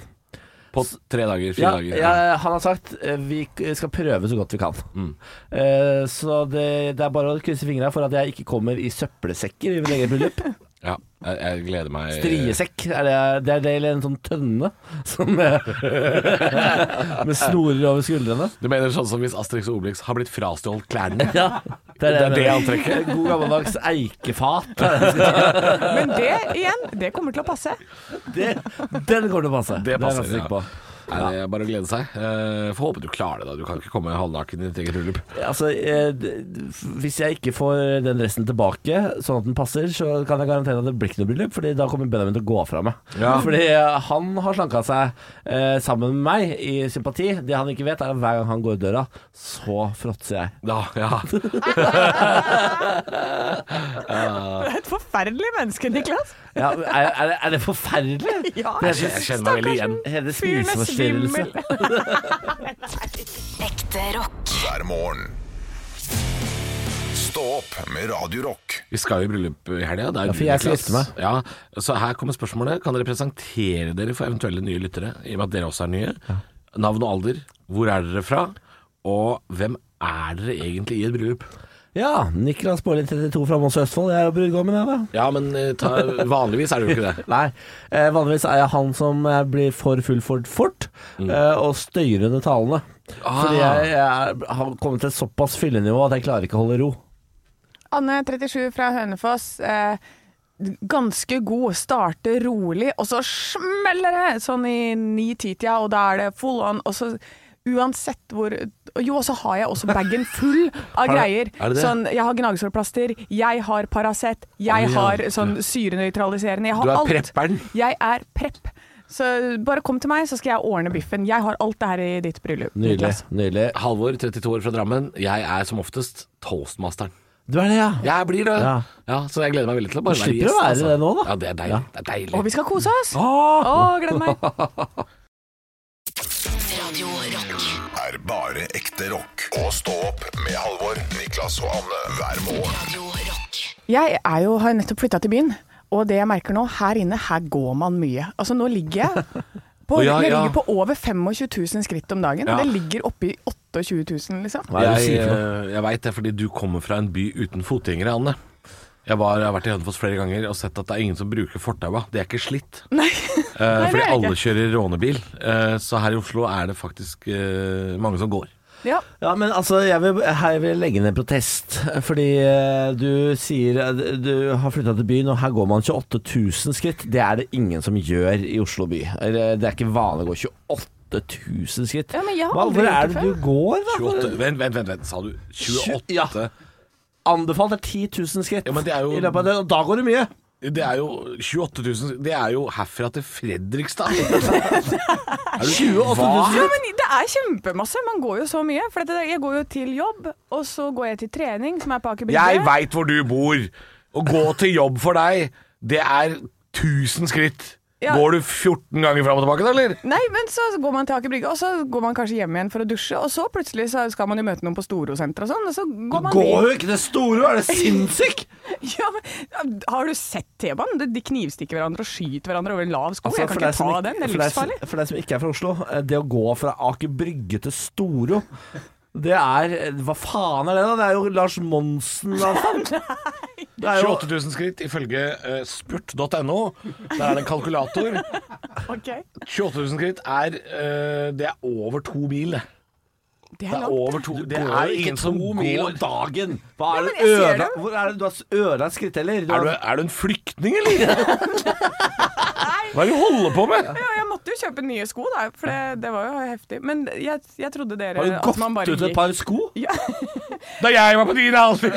S5: på tre dager, fire
S3: Ja,
S5: dager.
S3: ja, han har sagt eh, vi k- skal prøve så godt vi kan.
S5: Mm.
S3: Eh, så det, det er bare å krysse fingra for at jeg ikke kommer i søppelsekker i mitt eget bryllup.
S5: Ja, jeg, jeg gleder meg.
S3: Striesekk, er det, det er det eller en sånn tønne som eh, Med snorer over skuldrene.
S5: Du mener sånn som hvis Asterix og Obelix har blitt frastjålet klærne?
S3: Ja, det
S5: Det er det
S3: jeg mener.
S5: antrekket.
S3: God gammeldags eikefat.
S4: Men det igjen, det kommer til å passe.
S3: Det, den kommer til å passe. er
S5: Det passer,
S3: jeg ganske sikker
S5: ja.
S3: på.
S5: Nei, det er bare å glede seg. Eh, Får håpe du klarer det, da. Du kan ikke komme halvnaken i ditt eget bryllup.
S3: Altså, eh, d- hvis jeg ikke får den dressen tilbake sånn at den passer, så kan jeg garantere at det blir ikke noe bryllup, Fordi da kommer Benjamin til å gå fra meg.
S5: Ja.
S3: Fordi eh, han har slanka seg eh, sammen med meg i sympati. Det han ikke vet, er at hver gang han går i døra, så fråtser jeg.
S5: Da, ja.
S4: Du er et forferdelig menneske, Niklas.
S3: Ja, men er, er, det, er det forferdelig?
S4: Ja.
S3: Det er så-
S5: Jeg kjenner meg veldig igjen.
S3: Hele
S4: Fyren er
S3: spiseforstyrrelse.
S4: svimmel.
S1: Ekte rock.
S2: hver morgen. Stå opp med Radio Rock.
S5: Vi skal jo i bryllup i helga. det er
S3: Ja, for
S5: du,
S3: jeg skal
S5: Niklas.
S3: gifte meg.
S5: Ja, så her kommer spørsmålet. Kan dere presentere dere for eventuelle nye lyttere, i og med at dere også er nye? Navn og alder. Hvor er dere fra? Og hvem er dere egentlig i et bryllup?
S3: Ja, Niklas Baarli 32 fra Moss og Østfold. Jeg er jo brudgommen, jeg, da.
S5: Ja, men eh, ta, vanligvis er det jo ikke det.
S3: Nei, eh, vanligvis er jeg han som eh, blir for full for fort, eh, og støyer under talene. Fordi jeg, jeg er- har kommet til et såpass fyllenivå at jeg klarer ikke å holde ro.
S4: Anne 37 fra Hønefoss. Eh, ganske god, starter rolig, og så smeller det sånn i 9-10-tida, og da er det full on. Og så uansett hvor Jo, og så har jeg også bagen full av greier.
S5: er det det?
S4: Sånn, jeg har gnagsårplaster, jeg har Paracet, jeg
S5: Å, ja.
S4: har sånn syrenøytraliserende, jeg
S5: Du
S4: har
S5: er
S4: alt.
S5: prepperen.
S4: Jeg er prepp. Så bare kom til meg, så skal jeg ordne biffen. Jeg har alt det her i ditt bryllup.
S3: Nydelig.
S4: Niklas.
S3: nydelig
S5: Halvor, 32 år fra Drammen. Jeg er som oftest toastmasteren.
S3: Du er det, ja?
S5: Jeg blir det.
S3: Ja.
S5: Ja. Så jeg gleder meg veldig til å bare altså.
S3: Du slipper å være det nå, da.
S5: Ja, det er deilig.
S3: Ja.
S5: Det er deilig.
S4: Og vi skal kose oss! Å,
S3: Åh!
S4: gleder meg!
S1: Radio Rock.
S2: Er bare ekte rock. Og stå opp med Halvor, Niklas og Anne hver morgen.
S1: Radio Rock.
S4: Jeg er jo, har jo nettopp flytta til byen, og det jeg merker nå, her inne, her går man mye. Altså nå ligger jeg på,
S5: Å, ja,
S4: jeg
S5: ja.
S4: ligger på over 25 000 skritt om dagen.
S5: Ja.
S4: Det ligger oppe i 28 000, liksom.
S3: Hva er det du
S5: jeg
S3: sier for noe?
S5: eh, jeg veit det, fordi du kommer fra en by uten fotgjengere, Anne. Jeg, var, jeg har vært i Hønefoss flere ganger og sett at det er ingen som bruker fortaua. Det er ikke slitt.
S4: Nei.
S5: Eh,
S4: det
S5: fordi
S4: er
S5: alle
S4: ikke.
S5: kjører rånebil. Eh, så her i Oslo er det faktisk eh, mange som går.
S4: Ja.
S3: Ja, men altså, jeg vil, her vil jeg legge ned protest. Fordi eh, du sier eh, du har flytta til byen, og her går man 28 000 skritt. Det er det ingen som gjør i Oslo by. Eller, eh, Det er ikke vanlig å gå 28 000 skritt.
S4: Ja, men jeg har
S3: Hva-
S4: aldri
S3: Hvor
S4: gjort
S3: er
S4: det
S3: det du går, da?
S5: 28, vent, vent, vent, vent, sa du 28?
S3: Tjue- ja. Anbefalt er 10 000 skritt
S5: Ja, men det er jo-
S3: i løpet av det, og da går det mye.
S5: Det er jo 28 000 Det er jo herfra til Fredrikstad. Er du-
S3: 28 000
S5: Ah.
S4: ja, men det er kjempemasse. Man går jo så mye. For det, jeg går jo til jobb, og så går jeg til trening, som er på Aker
S5: Jeg
S4: Brygge.
S5: veit hvor du bor. Å gå til jobb for deg, det er 1000 skritt.
S4: Ja.
S5: Går du 14 ganger fram og tilbake da, eller?
S4: Nei, men så går man til Aker Brygge, og så går man kanskje hjem igjen for å dusje, og så plutselig så skal man jo møte noen på Storosenteret og sånn, og så går man dit.
S3: Går jo ikke det store, er det sinnssyk?
S4: Ja, men, har du sett T-banen? De- De knivstikker hverandre og skyter hverandre over en lav sko. jeg kan
S3: Altså, for
S4: ikke
S3: deg som
S4: ta den, det
S3: for
S4: er
S3: deg-
S4: livsfarlig.
S3: For deg som ikke er fra Oslo, eh, det å gå fra Aker Brygge til Storo det er eh, Hva faen er det, da? Det er jo Lars Monsen avstand. Det er jo
S5: 28 000 skritt ifølge eh, spurt.no. Der er det en kalkulator. 28 000 skritt er eh, Det er over to mil, det.
S4: Det
S5: Det
S4: er
S5: er
S4: langt.
S5: over to Det
S3: det
S5: er ingen som går
S3: dagen. Hva er
S4: men
S3: det
S4: jeg ser
S3: øde,
S4: dem.
S3: hvor er det du har s- ødelagt skritteller? Du
S5: er
S3: har-
S5: du, er du en flyktning, eller?
S4: Nei,
S5: Hva er det du holder på med?
S4: Jo, jeg måtte jo kjøpe nye sko, da, for det, det var jo heftig. Men jeg, jeg trodde dere
S3: Har du
S4: at man
S3: gått
S4: bare
S3: ut et par sko?
S4: Ja.
S5: Da jeg var på din alder,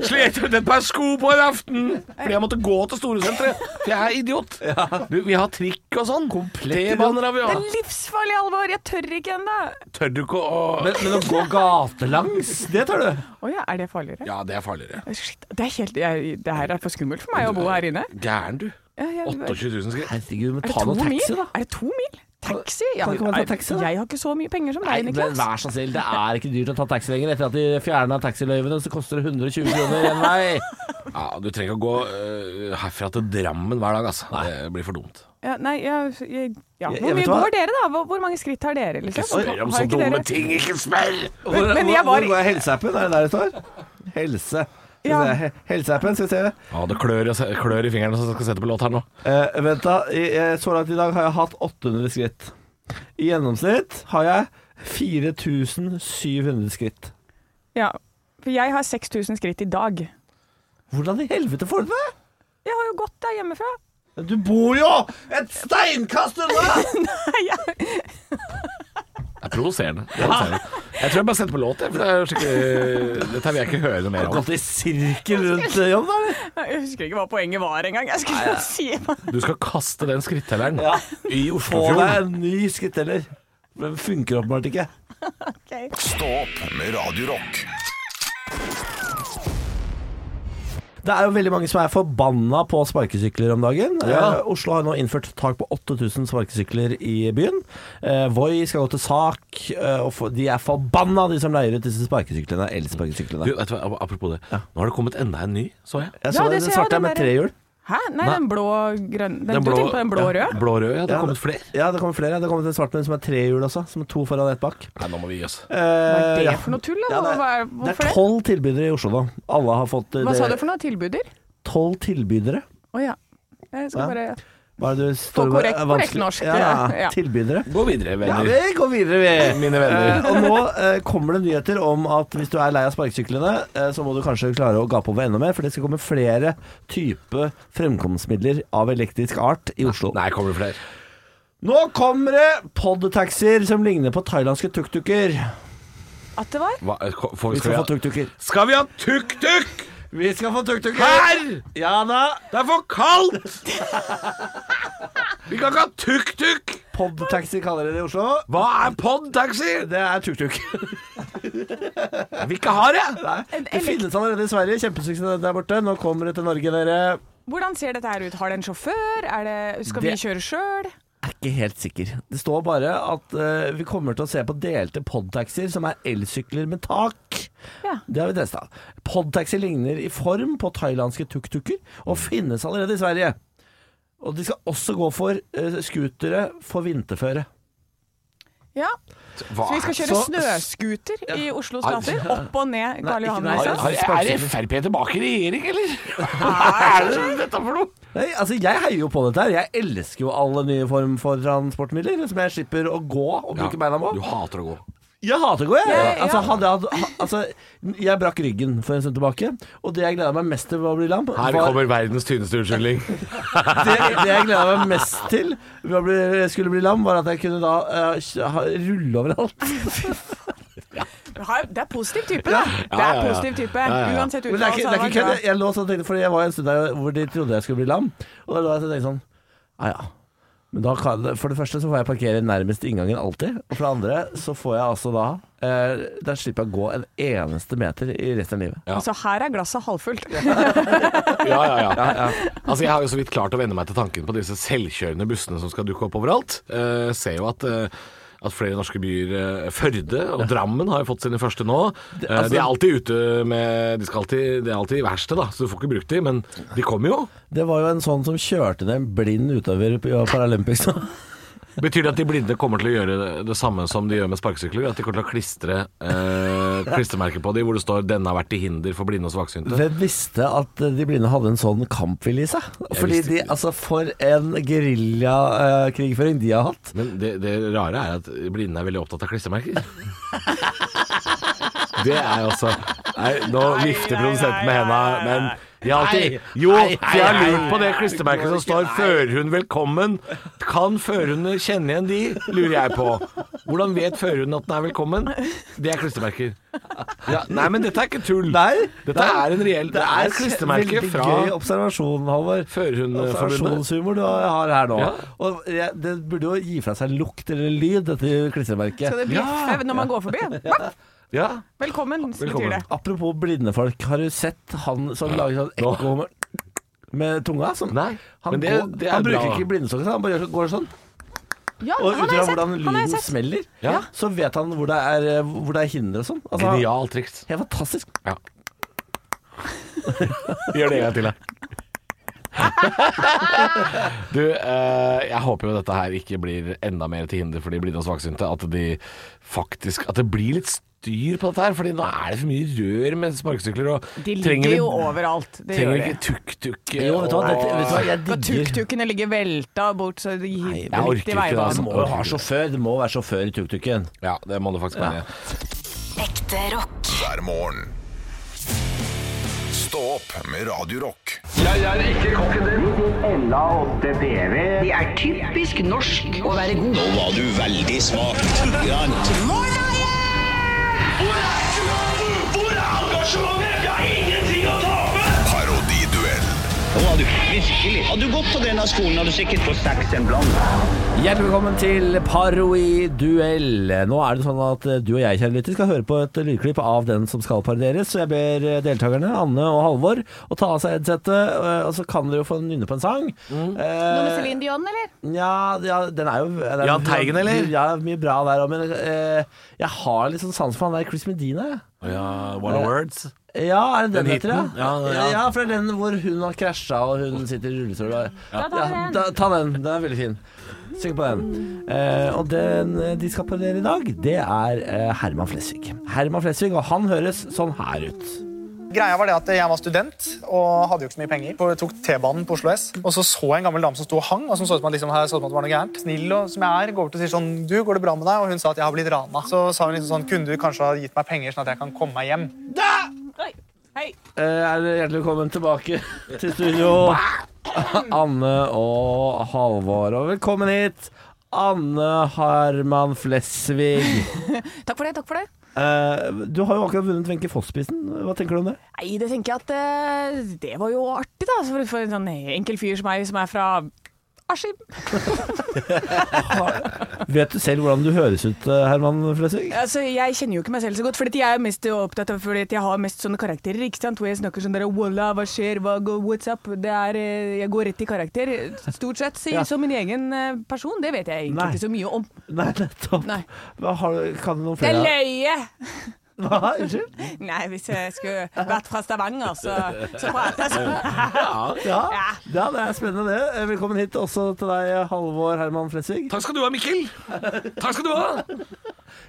S5: slet jeg ut et par sko på en aften fordi jeg måtte gå til Storesenteret. For jeg er idiot. Du, vi har trikk og sånn. T-baner har vi
S4: Det
S5: òg.
S4: er livsfarlig alvor! Jeg tør ikke ennå!
S5: Tør du ikke å
S3: Men, men å gå gatelangs, det tar du.
S4: Å ja, er det farligere?
S5: Ja, det er farligere.
S4: Shit, det, er helt, jeg, det her er for skummelt for meg å bo her inne.
S5: Gæren, du.
S4: Ja, jeg-
S5: 28 000 skritt.
S3: Herregud, men
S4: Er det
S3: ta
S4: to
S3: noe taxi,
S4: mil?
S3: da.
S4: Er det to mil? Taxi? Ja,
S3: kan ikke man ta taxi, da?
S4: jeg har ikke så mye penger som
S3: Nei,
S4: deg,
S3: men
S4: Niklas.
S3: vær så snill, det er ikke dyrt å ta taxi lenger. Etter at de fjerna taxiløyvene, så koster det 120 kroner én vei.
S5: Ja, du trenger ikke å gå øh, herfra til Drammen hver dag, altså. Det blir for dumt.
S4: Ja, nei, jeg, jeg, ja.
S3: Jeg-
S4: Hvor
S3: jeg vet
S4: mye
S3: hva-
S4: går dere, da? Hvor, hvor mange skritt har dere? Liksom?
S5: Ikke spør om
S4: Har
S5: så
S4: ikke
S5: dumme
S4: dere-
S5: ting, ikke spør!
S3: Hvor,
S4: Men- men
S3: hvor,
S4: jeg var-
S3: hvor går jeg i helseappen? Er det der det står? Helse. Skal
S4: Ja.
S3: vi se. Helseappen, skal vi se.
S5: Ja, det klør, i- klør i fingrene, så jeg skal sette på låt her nå.
S3: Eh, vent, da. I- eh, Så langt i dag har jeg hatt 800 skritt. I gjennomsnitt har jeg 4700 skritt.
S4: Ja, for jeg har 6000 skritt i dag.
S3: Hvordan i helvete får du det?
S4: Jeg har jo gått der hjemmefra.
S3: Du bor jo et steinkast unna!
S5: Det er provoserende. Det er provoserende. Jeg tror jeg bare setter på låt, jeg. For det er skikkelig Dette vil jeg ikke høre noe mer om.
S3: Gått i sirkel rundt eh, John, da? eller?
S4: Jeg husker ikke hva poenget var engang. Jeg skulle bare si det.
S5: Du skal kaste den skrittelleren
S3: Ja. Få
S5: i
S3: deg
S5: Oslofjorden.
S3: en ny skritteller. Den funker åpenbart ikke.
S2: Stå opp med Radio Rock.
S3: Det er jo veldig mange som er forbanna på sparkesykler om dagen.
S5: Ja.
S3: Eh, Oslo har nå innført tak på 8000 sparkesykler i byen. Eh, Voi skal gå til sak, eh, og for, de er forbanna, de som leier ut disse sparkesyklene.
S5: Du,
S3: Elsparkesyklene.
S5: vet du hva, apropos det. Nå har det kommet enda en ny, så jeg.
S3: Jeg
S4: Ja,
S3: så
S4: det
S3: den
S4: ser jeg,
S3: svarte
S4: den
S3: er med
S4: der-
S3: trehjul.
S4: Hæ? Nei, den blå grønn den, Du tenker på den blå
S5: ja,
S4: røde?
S5: Blå rød, ja. Det
S3: Ja,
S5: har kommet flere.
S3: Ja, det kommer flere. Det har kommet en svart med en som er trehjul også, som er to foran og ett bak.
S5: Nei, nå må vi gi oss.
S3: Eh,
S4: Hva er
S3: ja.
S4: det for noe tull? Da?
S3: Ja, det,
S4: Hva er-
S3: er- det
S4: hvorfor
S3: er
S4: det?
S3: tolv tilbydere i Oslo nå. Alle har fått eh,
S4: Hva sa du
S3: det-
S4: for noe? Tilbuder?
S3: Tolv tilbydere.
S4: Å ja. Jeg skal
S3: Ja.
S4: bare
S3: Hva er det du står
S4: Få
S3: med?
S4: korrekt-
S3: Er vanskelig-
S4: korrekt norsk,
S3: Ja,
S4: ja. Ja.
S3: tilbydere.
S5: Gå
S3: Ja,
S5: videre, venner.
S3: vi går videre, vi.
S5: Mine venner.
S3: Eh, og nå eh, kommer det nyheter om at hvis du er lei av sparkesyklene, eh, så må du kanskje klare å gape over enda mer, for det skal komme flere typer fremkomstmidler av elektrisk art i Oslo.
S5: Nei, kommer det flere?
S3: Nå kommer det podtaxier som ligner på thailandske tuk-tuker.
S4: At det var?
S5: Hva, eh, ko- får,
S3: Vi skal få
S5: skal, vi ha,
S3: tuk-tuker.
S5: skal vi ha tuk-tuk?
S3: Vi skal få tuk-tuker.
S5: Her!
S3: Ja da.
S5: Det er for kaldt! Vi kan ikke ha tuk-tuk!
S3: Podtaxi kaller dere det i Oslo.
S5: Hva er podtaxi?
S3: Det er tuk-tuk.
S5: Jeg vil ikke ha det!
S3: Nei, Det
S4: elekt-
S3: finnes allerede i Sverige. Kjempesuksess der borte. Nå kommer det til Norge, dere.
S4: Hvordan ser dette her ut? Har det en sjåfør? Er det, skal vi
S3: Det-
S4: kjøre sjøl?
S3: er ikke helt sikker. Det står bare at eh, vi kommer til å se på delte podtaxier som er elsykler med tak.
S4: Ja.
S3: Det har vi testa. Podtaxi ligner i form på thailandske tuk-tuker og finnes allerede i Sverige. Og de skal også gå for eh, scootere for vinterføre.
S4: Ja.
S5: Hva
S4: Så vi skal
S5: er-
S4: kjøre snøscooter i Oslos gater? Opp og
S3: Nei,
S4: ned Karl
S3: ikke
S4: Johan?
S3: nei.
S4: liksom?
S5: Er, er, er Frp tilbake i regjering, eller? Hva er det dette for noe?
S3: Nei, altså Jeg heier jo på dette her. Jeg elsker jo alle nye form for transportmidler som jeg slipper å gå og bruke beina på.
S5: Du hater å gå.
S3: Jeg hater å gå, jeg.
S4: Ja, ja.
S3: Altså, hadde jeg, hatt- ha- altså, jeg brakk ryggen for en stund tilbake, og det jeg gleda meg mest til ved å bli lam,
S5: Her
S3: var
S5: kommer verdens tynneste unnskyldning.
S3: det, det jeg gleda meg mest til ved å bli, skulle bli lam, var at jeg kunne da eh, kj- ha- rulle overalt.
S4: Har- Det er positiv type, da. Det
S5: ja,
S4: er
S5: ja.
S4: positiv type.
S5: Ja, ja.
S4: Uansett
S3: Men det er ikke,
S4: utfall, så
S3: det er
S4: hadde
S3: ikke kødd.
S4: det
S3: Jeg- Jeg lå sånn og tenkte, for jeg var en stund der hvor de trodde jeg skulle bli lam. Og da lå jeg og tenkte sånn Ja ja. Men da kan, for det første så får jeg parkere nærmest inngangen alltid. Og for det andre så får jeg altså da eh, Da slipper jeg å gå en eneste meter i resten av livet.
S5: Ja.
S4: Så her er glasset halvfullt.
S5: Ja, ja, ja. Altså, jeg har jo så vidt klart å venne meg til tanken på disse selvkjørende bussene som skal dukke opp overalt. Eh, ser jo at eh, at flere norske byer eh, Førde og Drammen har jo fått sine første nå. Eh, de
S4: altså-
S5: er alltid ute med De skal alltid, det er alltid i verste, da, så du får ikke brukt de, men de kommer jo.
S3: Det var jo en sånn som kjørte ned en blind utøver på Paralympics nå.
S5: Betyr det at de blinde kommer til å gjøre det, det samme som de gjør med sparkesykler? At de kommer til å klistre eh, klistremerker på de hvor det står 'Denne har vært til hinder for blinde og svaksynte'?
S3: Hvem visste at de blinde hadde en sånn kampvilje i seg? Fordi
S5: visste
S3: de,
S5: ikke.
S3: altså For en geriljakrigføring de har hatt.
S5: Men det, det rare er at blinde er veldig opptatt av klistremerker. Det er altså Nei, nå vifter
S4: nei,
S5: produsenten med
S4: nei,
S5: henda,
S4: nei,
S5: men Jeg har alltid,
S3: Nei.
S5: jo,
S3: Nei,
S5: for jeg har
S3: nei,
S5: lurt
S3: nei.
S5: på det klistremerket som står
S3: Nei.
S5: 'førerhund velkommen'. Kan førerhundene kjenne igjen de, lurer jeg på. Hvordan vet førerhunden at den er velkommen? Det er klistremerker. Ja, nei, men dette er ikke tull.
S3: Nei,
S5: dette
S3: nei.
S5: er en reell Det Mm. er et klistremerke
S3: veldig
S5: fra
S3: Gøy observasjon, Halvor.
S5: Førerhundforbundet.
S3: Observasjonshumor du har her nå.
S5: Ja.
S3: Og jeg, det burde jo gi fra seg lukt eller lyd, dette klistremerket.
S4: Skal det bjeffe når man går forbi? Vaff!
S5: Ja.
S4: Velkommen, betyr det.
S3: Apropos blinde folk, har du sett han som lager sånn
S5: Nå.
S3: ekko med, med tunga? Sånn.
S5: Nei,
S3: Han,
S5: men det,
S3: går,
S5: det
S3: han
S5: er
S3: bruker
S5: bra.
S3: ikke blindestokken, han bare gjør- går sånn.
S4: Ja,
S3: Og ut
S4: han har
S3: fra
S4: jeg sett.
S3: hvordan
S4: Han har jeg
S3: lyden
S4: sett.
S3: smeller,
S5: Ja.
S3: så vet han hvor det er, eh, hvor det er hinder og sånn. Altså,
S5: Genialt triks.
S3: Helt fantastisk.
S5: Ja. Gjør det en gang til, da. Du, eh, jeg håper jo dette her ikke blir enda mer til hinder for de blinde og svaksynte. At de faktisk At det blir litt styr på dette her. Fordi nå er det for mye rør med sparkesykler. Og
S4: De
S5: trenger
S4: ligger
S5: vi-
S4: jo overalt. Det gjør
S5: Trenger vi
S4: de.
S5: ikke tuk-tuk
S3: Jo, vet du hva, dette, vet du hva jeg
S4: Og
S3: digger
S4: tuk-tukene ligger velta bort, så de
S5: jeg orker ikke det, altså.
S3: Du må jo ha sjåfør, det må være sjåfør i tuk-tuken.
S5: Ja, det må det faktisk være.
S1: Ekte rock.
S2: hver morgen. Stå opp med Radio Rock.
S8: Det er typisk norsk å være god.
S9: Nå var du veldig smak.
S10: Hvor er engasjementet? Jeg har ingenting å tape!
S2: Parodiduell
S9: Nå var du virkelig. Hadde du gått til denne skolen, hadde du sikkert fått seks en blant.
S3: Hjertelig velkommen til Paroi-duell. Nå er det sånn at eh, du og jeg kjære lytter, skal høre på et lydklipp av den som skal parodieres. Så jeg ber eh, deltakerne, Anne og Halvor, å ta av seg headsetet, eh, og så kan dere jo få nynne på en sang.
S4: Noe
S3: Eh,
S4: med Céline Dion, eller?
S3: Ja, ja, den er jo den er-
S5: Jahn Teigen, eller?
S3: Ja, mye bra der òg, men eh, jeg har litt sånn sans for han der Chris Medina. jeg.
S5: Ja, one of words.
S3: Ja, er det den,
S5: Den
S3: heter det?
S5: hiten? Ja, ja.
S3: ja, for det er den hvor hun har krasja og hun sitter i rullestol. og- Ja,
S4: Da tar vi den.
S3: da, ta den. Den er veldig fin. Syng på den. Eh, og den eh, de skal parodiere i dag, det er eh, Herman Flesvig. Herman Flesvig, og han høres sånn her ut.
S11: Greia var det at Jeg var student og hadde jo ikke så mye penger. Og jeg tok T-banen på Oslo S, og så så jeg en gammel dame som sto og hang. og som så ut som at, liksom, her, så ut som at det var noe gærent. Snill og som jeg er, går bort og sier sånn Du, går det bra med deg? Og hun sa at jeg har blitt rana. Så sa hun liksom sånn Kunne du kanskje ha gitt meg penger, sånn at jeg kan komme meg hjem?
S4: Oi. Hei.
S3: Eh, er det hjertelig velkommen tilbake til studio. Anne og Halvor, og velkommen hit. Anne Harman Flesvig.
S4: Takk for det, takk for det.
S3: Eh, du har jo akkurat vunnet Wenche Foss-prisen. Hva tenker du om det?
S4: Nei, det tenker jeg at eh, det var jo artig, da. For, for en sånn enkel fyr som meg, som er fra Askim.
S3: Vet du selv hvordan du høres ut, eh, Herman Flesvig?
S4: Altså, jeg kjenner jo ikke meg selv så godt, fordi at jeg er mest opptatt av fordi at jeg har mest sånne karakterer. ikke sant? Hvor jeg snakker sånn der Walla, hva skjer, hva går, what's up? Det er, eh, jeg går rett i karakter. Stort sett sier
S3: Ja.
S4: som min egen eh, person. Det vet jeg egentlig
S3: Nei.
S4: ikke så mye om.
S3: Nei, nettopp.
S4: Nei.
S3: Hva har, du- kan du noen
S4: Det er
S3: flere?
S4: løye!
S3: Hva? Unnskyld?
S4: Nei, hvis jeg skulle vært fra Stavanger, så, så prater jeg sånn.
S3: Ja.
S4: Ja.
S3: ja, det er spennende det. Eh, Velkommen hit også til deg, eh, Halvor Herman Flesvig.
S5: Takk skal du ha, Mikkel. Takk skal du ha. Det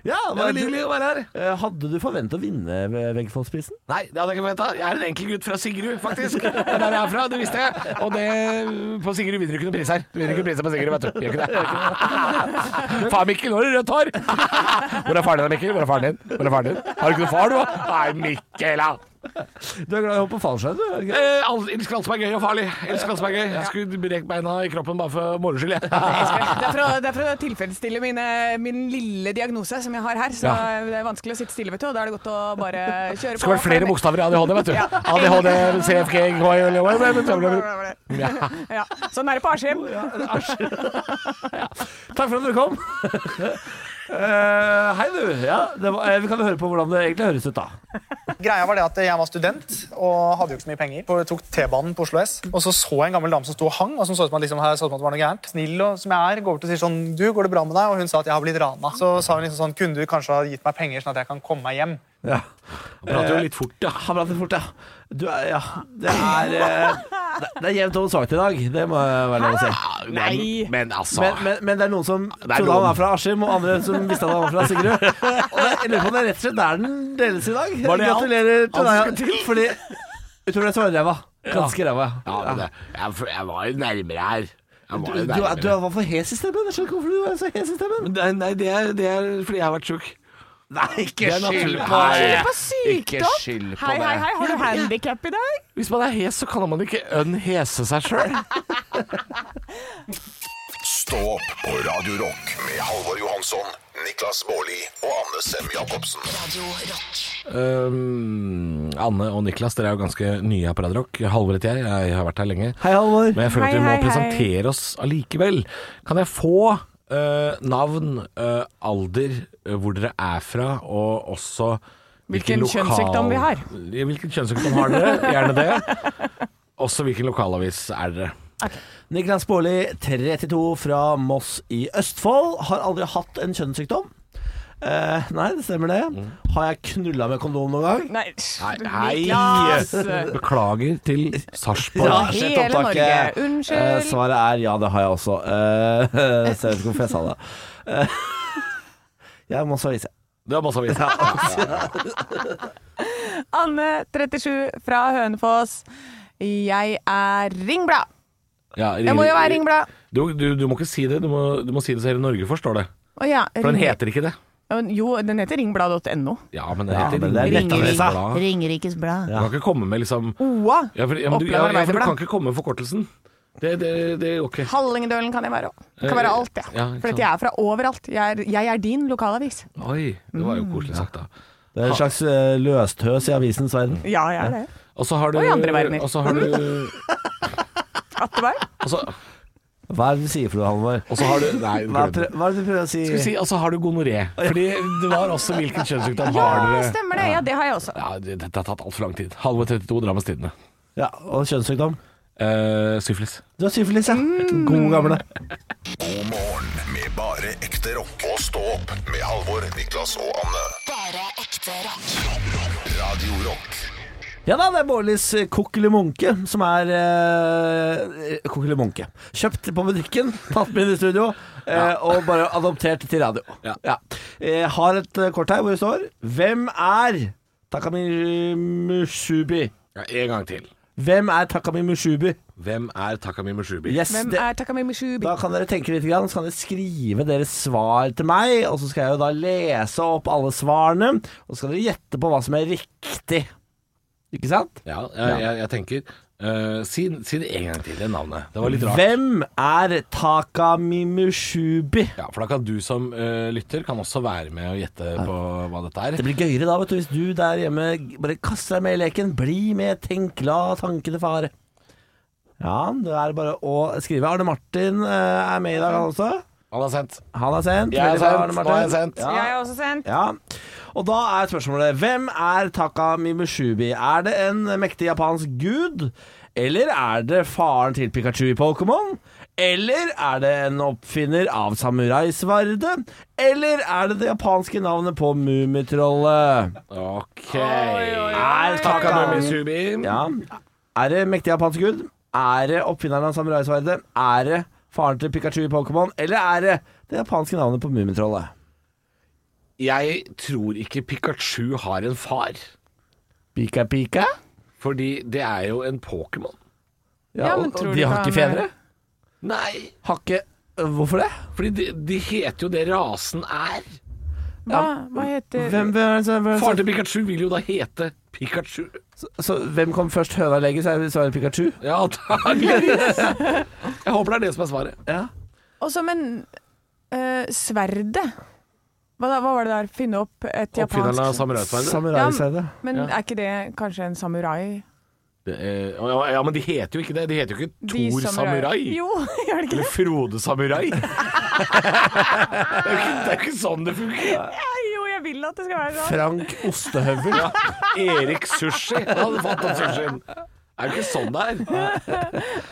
S3: Ja,
S5: er
S3: hva,
S5: veldig hyggelig å være her.
S3: Eh, hadde du forventet å vinne Wenche Foss-prisen?
S5: Nei, det hadde jeg ikke forventa. Jeg er en enkel gutt fra Sigrud, faktisk. Det er der jeg er fra, det visste jeg. Og det, på Sigrud vinner du ikke noen pris her. Du vinner ikke priser på Sigrud, vet du. Gjør ikke det. Faen, Mikkel, nå har du rødt hår! Hvor er faren din, Mikkel? Hvor er faren din? Hvor er faren din? Har du ikke noen far, du? da? Nei, Mikkel, da.
S3: Du er glad i å hoppe fallskjerm, du? er du ikke det?
S5: Eh, alle- elsker alt som er gøy og farlig. Elsker alt som er gøy. Jeg skulle brekt beina i kroppen bare for moro skyld, jeg.
S4: Det er for å- det er for å tilfredsstille mine, min lille diagnose som jeg har her. Så
S5: Ja.
S4: det er vanskelig å sitte stille, vet du. Og da er det godt å bare kjøre på.
S5: Det skulle vært flere bokstaver i ADHD, vet du. ADHD, CFG, KI
S4: Ja. ja. Sånn er det på Askim.
S3: Takk for at dere kom. Eh, hei, du. Ja, det var, eh, vi kan jo høre på hvordan det egentlig høres ut, da.
S11: Greia var det at jeg var student og hadde jo ikke så mye penger. Og jeg tok T-banen på Oslo S, og så så jeg en gammel dame som sto og hang. og som så ut som at, liksom, her, så ut som at det var noe gærent. Snill og som jeg er, går bort og sier sånn Du, går det bra med deg? Og hun sa at jeg har blitt rana. Så sa hun liksom sånn Kunne du kanskje ha gitt meg penger, sånn at jeg kan komme meg hjem?
S3: Ja. Eh,
S5: Prater jo litt fort, da.
S3: Han prater fort, ja. Du er, ja. Det er eh, det, det er jevnt over svakt i dag, det må jeg være lov å si.
S4: Nei.
S5: Men, men altså
S3: Men, men, men det er noen som
S5: er
S3: trodde han
S5: noen.
S3: var fra Askim, og andre som visste at han var fra Sigrud. Og det, jeg lurer på om det er rett og slett der den deles i dag.
S5: Var det alt?
S3: Gratulerer til
S5: Alt
S3: deg. Fordi utover det så var det ræva. Ganske ræva.
S5: Ja, men det, jeg, jeg var jo nærmere her. Jeg var
S3: Du,
S5: jo
S3: du,
S5: nærmere.
S3: du var for hes i stemmen. Jeg skjønner ikke hvorfor du er så hes i stemmen.
S5: Nei, nei det, er, det er fordi jeg har vært sjuk.
S3: Nei,
S5: Det
S3: ikke
S5: er
S3: skyld
S5: naturlig.
S3: på
S5: Nei.
S3: meg!
S4: På sykdom!
S5: skyld på
S4: Hei, hei,
S5: det.
S4: hei, har du handikap i dag?
S5: Hvis man er hes, så kan man ikke unhese seg sjøl.
S2: Stå opp på Radio Rock med Halvor Johansson, Niklas Baarli og Anne Sem Jacobsen.
S1: Radio Rock.
S5: Um, Anne og Niklas, dere er jo ganske nye her på Radio Rock. Halvor heter jeg, jeg har vært her lenge.
S3: Hei, Halvor.
S5: Men jeg føler at
S4: Hei,
S5: vi må
S4: hei, hei.
S5: presentere oss allikevel. Kan jeg få eh, navn, eh, alder, eh, hvor dere er fra, og også
S4: Hvilken kjønnssykdom vi har.
S5: Ja, hvilken kjønnssykdom har dere? Gjerne det. Også hvilken lokalavis er dere?
S3: Niklas Baarli, 32, fra Moss i Østfold. Har aldri hatt en kjønnssykdom. Eh, nei, det stemmer det. Har jeg knulla med kondom noen gang?
S4: Nei,
S5: Nei, hei.
S4: Niklas.
S5: Beklager til Sarpsborg.
S4: Ja,
S3: Shit,
S4: hele
S3: opptaket.
S4: Norge. Unnskyld.
S3: Eh, svaret er ja, det har jeg også. Eh, så jeg vet ikke hvorfor jeg sa det. Eh, jeg må så vise.
S5: Det var masse aviser.
S4: Anne, 37, fra Hønefoss. Jeg er ringblad.
S5: Ja,
S4: Jeg må jo være ringblad.
S5: Du, du, du må ikke si det. Du må, du må si det så hele Norge forstår det.
S4: Å ja,
S5: For den
S4: ring-
S5: heter ikke det.
S4: Ja, men Jo, den heter ringblad.no.
S5: Ja, men det
S3: Ja,
S5: heter
S3: men det er
S5: Ringerikes
S3: nettavisa.
S5: Blad.
S4: Ringerikes Blad.
S5: Du kan ikke komme med liksom
S4: OA.
S5: Ja, for, ja, men du, ja,
S4: Oppland
S5: ja, for du
S4: Arbeiderblad.
S5: kan ikke komme med forkortelsen. Det, det, det går ikke.
S4: Hallingdølen kan jeg være òg. Kan være alt, jeg.
S5: Ja, ikke
S4: For
S5: sant.
S4: jeg er fra overalt. Jeg er, jeg er din lokalavis.
S5: Oi, det var jo koselig sagt, da.
S3: Det er en slags eh, løstøs i avisens verden.
S4: Ja, jeg er det.
S5: Og så har du
S4: Og i andre verdener.
S5: Og så har du
S4: Atteberg.
S5: og så,
S3: Hva er det du sier for noe, Halvor?
S5: og så har du Nei, du
S3: Hva, er
S5: glemte
S3: pre-
S5: det.
S3: hva er det du prøver å si?
S5: Skal vi si, og så har du gonoré. Fordi det var også hvilken kjønnssykdom har
S4: Ja,
S5: dere?
S4: stemmer det. Ja, det har jeg også.
S5: Ja, det- Dette har tatt altfor lang tid. Halve 32, Drammens Tidende.
S3: Ja, og kjønnssykdom?
S5: Eh, syflis.
S3: Du har syfilis, ja.
S4: Mm.
S3: God gamle.
S2: God morgen med bare ekte rock. Og stå opp med Halvor, Niklas og Anne.
S1: Bare ekte rock.
S2: Radio Rock
S3: Ja da, det er Bårlis kokkelimunke, som er eh, kokkelimunke. Kjøpt på butikken, tatt med inn i studio, eh, og bare adoptert til radio.
S5: Ja.
S3: Jeg har et eh, kort her hvor det står Hvem er Takami Mushubi?
S5: Ja, en gang til.
S3: Hvem er Takami Mushubi?
S5: Hvem er Takami Mushubi?
S3: Yes,
S4: Hvem
S3: det,
S4: er Takami Mishubi?
S3: da kan dere tenke litt, grann, så kan dere skrive deres svar til meg, og så skal jeg jo da lese opp alle svarene, og så skal dere gjette på hva som er riktig. Ikke sant?
S5: Ja, jeg, jeg, jeg tenker eh, si, si det en gang til, det navnet. Det var litt rart.
S3: Hvem er Takamimushubi?
S5: Ja, for da kan du som eh, lytter kan også være med og gjette på hva dette
S3: Det
S5: er.
S3: blir gøyere da, vet du, hvis du der hjemme bare kaster deg med i leken. Bli med, tenk, la tankene fare. Ja, det er bare å skrive. Arne Martin eh, er med i dag, han også.
S5: Han har sendt.
S3: Han er sendt.
S5: Jeg
S3: Veldig
S5: er
S3: bra,
S5: sendt.
S3: Arne
S5: Nå
S3: Martin.
S5: er jeg sendt.
S3: Ja.
S4: Jeg er også sendt.
S3: Ja, og da er spørsmålet Hvem er Takamimushubi? Er det en mektig japansk gud? Eller er det faren til Pikachu i Pokémon? Eller er det en oppfinner av samuraisverdet? Eller er det det japanske navnet på Mummitrollet?
S5: Ok.
S3: Er Takamimushubi
S5: Takamizubi.
S3: ja. Er det mektig japansk gud? Er det oppfinneren av samuraisverdet? Er det faren til Pikachu i Pokémon? Eller er det det japanske navnet på Mummitrollet?
S5: Jeg tror ikke Pikachu har en far,
S3: Pika Pika?
S5: fordi det er jo en Pokémon.
S4: Ja,
S3: og-
S4: men
S3: og
S4: tror
S3: de
S4: du eh,
S3: har
S4: ikke
S3: ikke
S4: han-
S3: fedre?
S5: Nei,
S3: Har ikke Hvorfor det?
S5: fordi de, de heter jo det rasen er.
S4: Hva, hva heter
S3: Hvem, hvem,
S5: Faren til Pikachu vil jo da hete Pikachu.
S3: så, så, hvem kom først høna eller egget, så er det svaret Pikachu?
S5: Ja, antakeligvis. Jeg håper det er det som er svaret.
S3: Ja.
S4: Og som en eh, sverde. Hva, da, hva var det der? Finne opp et
S5: Oppfinneren av
S4: japansk
S5: samuraisverdet.
S3: Samuraisverdet.
S4: Men er ikke det kanskje en samurai?
S5: Det er- Eh, Ja, ja, men de heter jo ikke det. De heter jo ikke
S4: De
S5: Thor Samurai.
S4: Jo, gjør det ikke
S5: Eller Frode Samurai. det, er jo ikke, det er jo ikke sånn det funker.
S4: det? Jo, jeg vil at det skal være sånn.
S3: Frank Ostehøvel.
S5: Ja, Erik Sushi han hadde fått den sushien. Det er jo ikke sånn det er.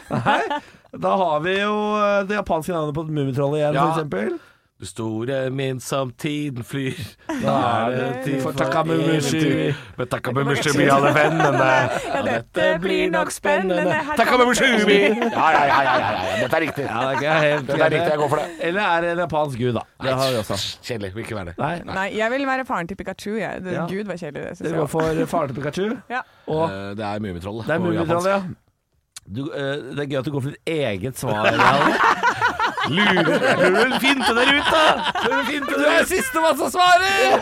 S3: Da har vi jo eh, det japanske navnet på Mummitrollet igjen,
S5: Ja.
S3: for eksempel.
S5: Du store min som tiden flyr, da er det tid
S3: For
S5: for
S3: Takamumushu.
S5: takamumushu. Med takamumushu, alle vennene.
S4: Ja, dette blir nok spennende. Her
S5: Takamumushu!
S4: kommer-
S5: Ja, ja, ja, ja, ja, ja. Dette er riktig.
S3: det er ikke helt
S5: Dette er riktig, jeg går for det.
S3: Eller er det en japansk gud, da? Det har vi også.
S5: Kjedelig. Vil ikke være det.
S3: Nei,
S4: Nei, jeg vil være faren til Pikachu. Jeg. Det,
S3: Ja.
S4: Gud, var kjedelig det.
S3: det
S4: Synes jeg.
S3: går for faren til Pikachu.
S4: Ja.
S3: Og
S5: Eh, Det er Mummitrollet.
S3: det er
S5: på japansk.
S3: Mummitrollet, ja. Du, eh, det er gøy at du går for ditt eget svar. Jan.
S5: Lurer lurer vel finte der ute! Lurer vel finte
S3: Du er sistemann som svarer!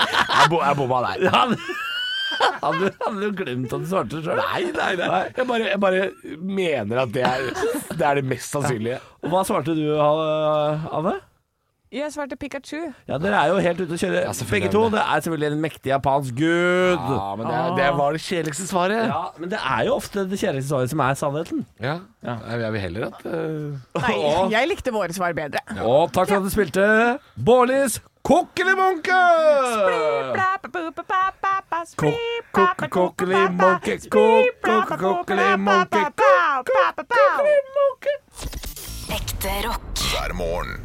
S5: Jeg, bo, jeg bomma der.
S3: Han hadde hadde jo glemt at du svarte sjøl.
S5: Nei, nei, nei. Jeg bare, jeg bare mener at det er det, er det mest sannsynlige.
S3: Hva svarte du, Anne?
S4: Jeg svarte Pikachu.
S3: Ja, Dere er jo helt ute å kjøre,
S5: Ja, selvfølgelig
S3: begge to.
S5: er vi
S3: Det er selvfølgelig en mektig japansk gud.
S5: Ja, men det, er- det var det kjedeligste svaret.
S3: Ja, Men det er jo ofte det kjedeligste svaret som er sannheten.
S5: Ja. Jeg jeg vil heller at eh,
S4: Nei,
S3: Åh.
S4: jeg likte våre svar bedre.
S3: Og takk for at du spilte Bårlis kokkelimonke! Kokkelimonke, kokkelimonke, kokkelimonke.
S1: Ekte rock.
S2: hver morgen.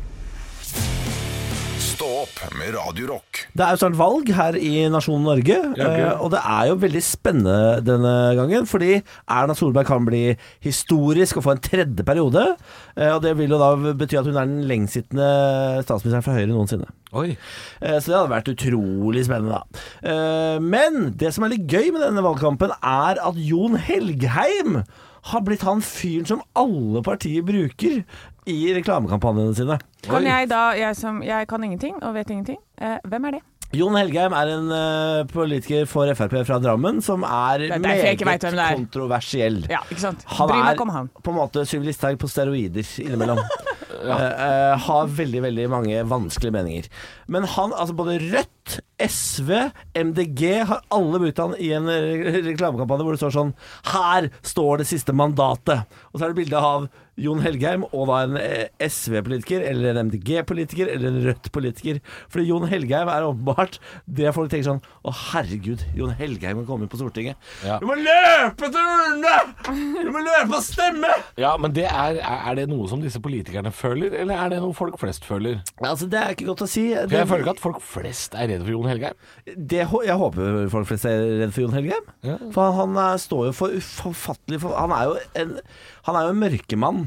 S2: Stå opp med Radio Rock.
S3: Det er jo snart valg her i nasjonen Norge,
S5: ok.
S3: eh, og det er jo veldig spennende denne gangen. Fordi Erna Solberg kan bli historisk og få en tredje periode. eh, Og det vil jo da bety at hun er den lengstsittende statsministeren fra Høyre noensinne.
S5: Oi.
S3: Eh, Så det hadde vært utrolig spennende, da. Eh, Men det som er litt gøy med denne valgkampen, er at Jon Helgheim har blitt han fyren som alle partier bruker i reklamekampanjene sine.
S4: Kan jeg da, jeg som jeg kan ingenting og vet ingenting, eh, hvem er det?
S3: Jon Helgheim er en eh, politiker for Frp fra Drammen som er,
S4: er derfor jeg
S3: meget
S4: ikke vet hvem det er.
S3: kontroversiell.
S4: Ja, ikke sant?
S3: Han
S4: Bry
S3: er
S4: meg om han.
S3: på en måte Sylvi Listhaug på steroider innimellom. Eh, eh, har veldig veldig mange vanskelige meninger. Men han, altså både Rødt, SV, MDG har alle brukt han i en re reklamekampanje hvor det står sånn Her står det siste mandatet! Og så er det bilde av Jon Helgheim og da en eh, SV-politiker eller en MDG-politiker eller en Rødt-politiker. Fordi Jon Helgheim er åpenbart det folk tenker sånn Å, herregud, Jon Helgheim kan komme inn på Stortinget.
S5: Ja.
S3: Du må løpe til urne! Du må løpe og stemme!
S5: Ja, men det er, er er det noe som disse politikerne føler, eller er det noe folk flest føler?
S3: Altså, det er ikke godt å si.
S5: For jeg
S3: Det,
S5: føler ikke at folk flest er redd for Jon Helgheim.
S3: det, hå- jeg håper folk flest er redd for Jon Helgheim.
S5: Ja.
S3: For han, han er- står jo for uforfattelig for, Han er jo en, han er jo en mørkemann.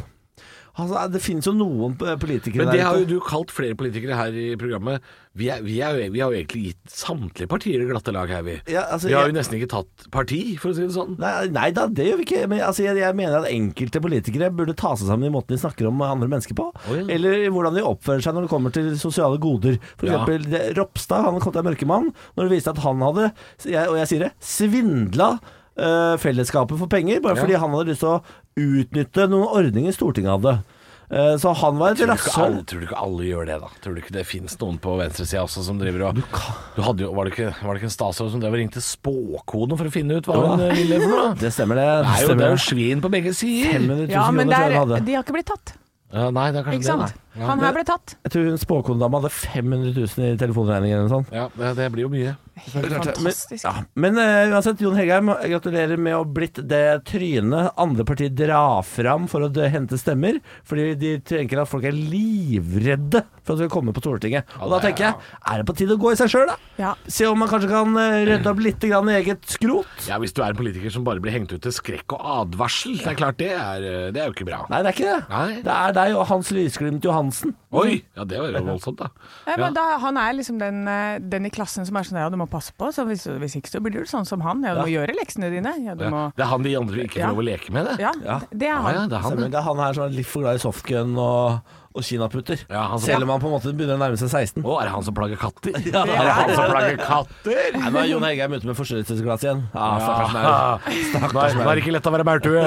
S3: Altså, det finnes jo noen p- politikere
S5: Men det har
S3: der
S5: jo du kalt flere politikere her i programmet. Vi, er, vi, er, jo- vi har jo egentlig gitt samtlige partier det glatte lag her, vi.
S3: Ja, altså,
S5: vi har jo
S3: jeg-
S5: nesten ikke tatt parti, for å si det sånn.
S3: Nei, nei da, det gjør vi ikke. Men altså, jeg, jeg mener at enkelte politikere burde ta seg sammen i måten de snakker om andre mennesker på.
S5: Å, ja.
S3: Eller i hvordan de oppfører seg når det kommer til sosiale goder. For
S5: Ja.
S3: eksempel det- Ropstad, han kom til en mørkemann, når det viste at han hadde, jeg, og jeg sier det, svindla eh, fellesskapet for penger, bare
S5: Ja.
S3: fordi han hadde lyst til å utnytte noen ordninger Stortinget hadde. Eh, så han var et
S5: Tror du, ikke alle,
S3: rasshold.
S5: tror du ikke alle gjør det, da? Tror du ikke det fins noen på venstresida også som driver og du hadde jo, var, det ikke, var det ikke en statsråd som drev og ringte spåkoden for å finne ut hva
S3: Jo da.
S5: hun eh, ville for noe?
S3: Det stemmer, det.
S5: Det er
S3: stemmer
S5: jo, det
S3: det.
S5: er jo svin på begge sider.
S3: 500 000
S4: Ja,
S3: kroner tror jeg
S4: men der,
S3: hun hadde.
S4: de har ikke blitt tatt,
S5: Ja, nei, det er kanskje
S4: ikke sant?
S5: det. Nei.
S4: Han her ble tatt.
S3: Jeg tror hun spåkonedama hadde 500 000 i telefonregningen eller noe sånt.
S5: Ja, det, det blir jo mye.
S4: Helt fantastisk.
S3: Ja, men eh, uansett, Jon Helgheim, gratulerer med å ha blitt det trynet andre partier drar fram for å d- hente stemmer. Fordi de tenker at folk er livredde for at vi kommer på Stortinget. Og da
S5: det er-
S3: tenker jeg, er det på tide å gå i seg sjøl, da?
S4: Ja.
S3: Se om man kanskje kan eh, rydde opp litt grann i eget skrot?
S5: Ja, Hvis du er en politiker som bare blir hengt ut til skrekk og advarsel, det er klart det er, eh, det er jo ikke bra.
S3: Nei, det er ikke det.
S5: Nei.
S3: Det er deg og Hans Lysglimt Johansen.
S5: Oi! Ja, det var jo voldsomt, da.
S4: Nei,
S5: Ja.
S4: men da, han er liksom den, eh, den i klassen som er sånn ja, du må passe på, så hvis, hvis ikke så blir du sånn som han. Ja, du må gjøre leksene dine. Ja, du må
S5: Ja. Det er han de andre ikke får
S4: Ja.
S5: lov å leke med, det.
S4: Ja,
S3: Ja.
S4: det er
S5: Ah, ja,
S4: han.
S5: det er han,
S3: Stemmer,
S5: det.
S3: det er han her som er litt for glad i softgun og, og kinaputter.
S5: Ja, han som-
S3: Selv om han på en måte begynner å nærme seg 16.
S5: Å, er det han som plager katter?
S3: Ja, det
S5: er det han
S3: er
S5: som
S3: det.
S5: plager katter?
S3: Nei, nå er Jon Helgheim ute med forstyrrelsesglass igjen. Ja, stakkars meg.
S5: Ah, Nå er nå er det ikke lett å være maurtue.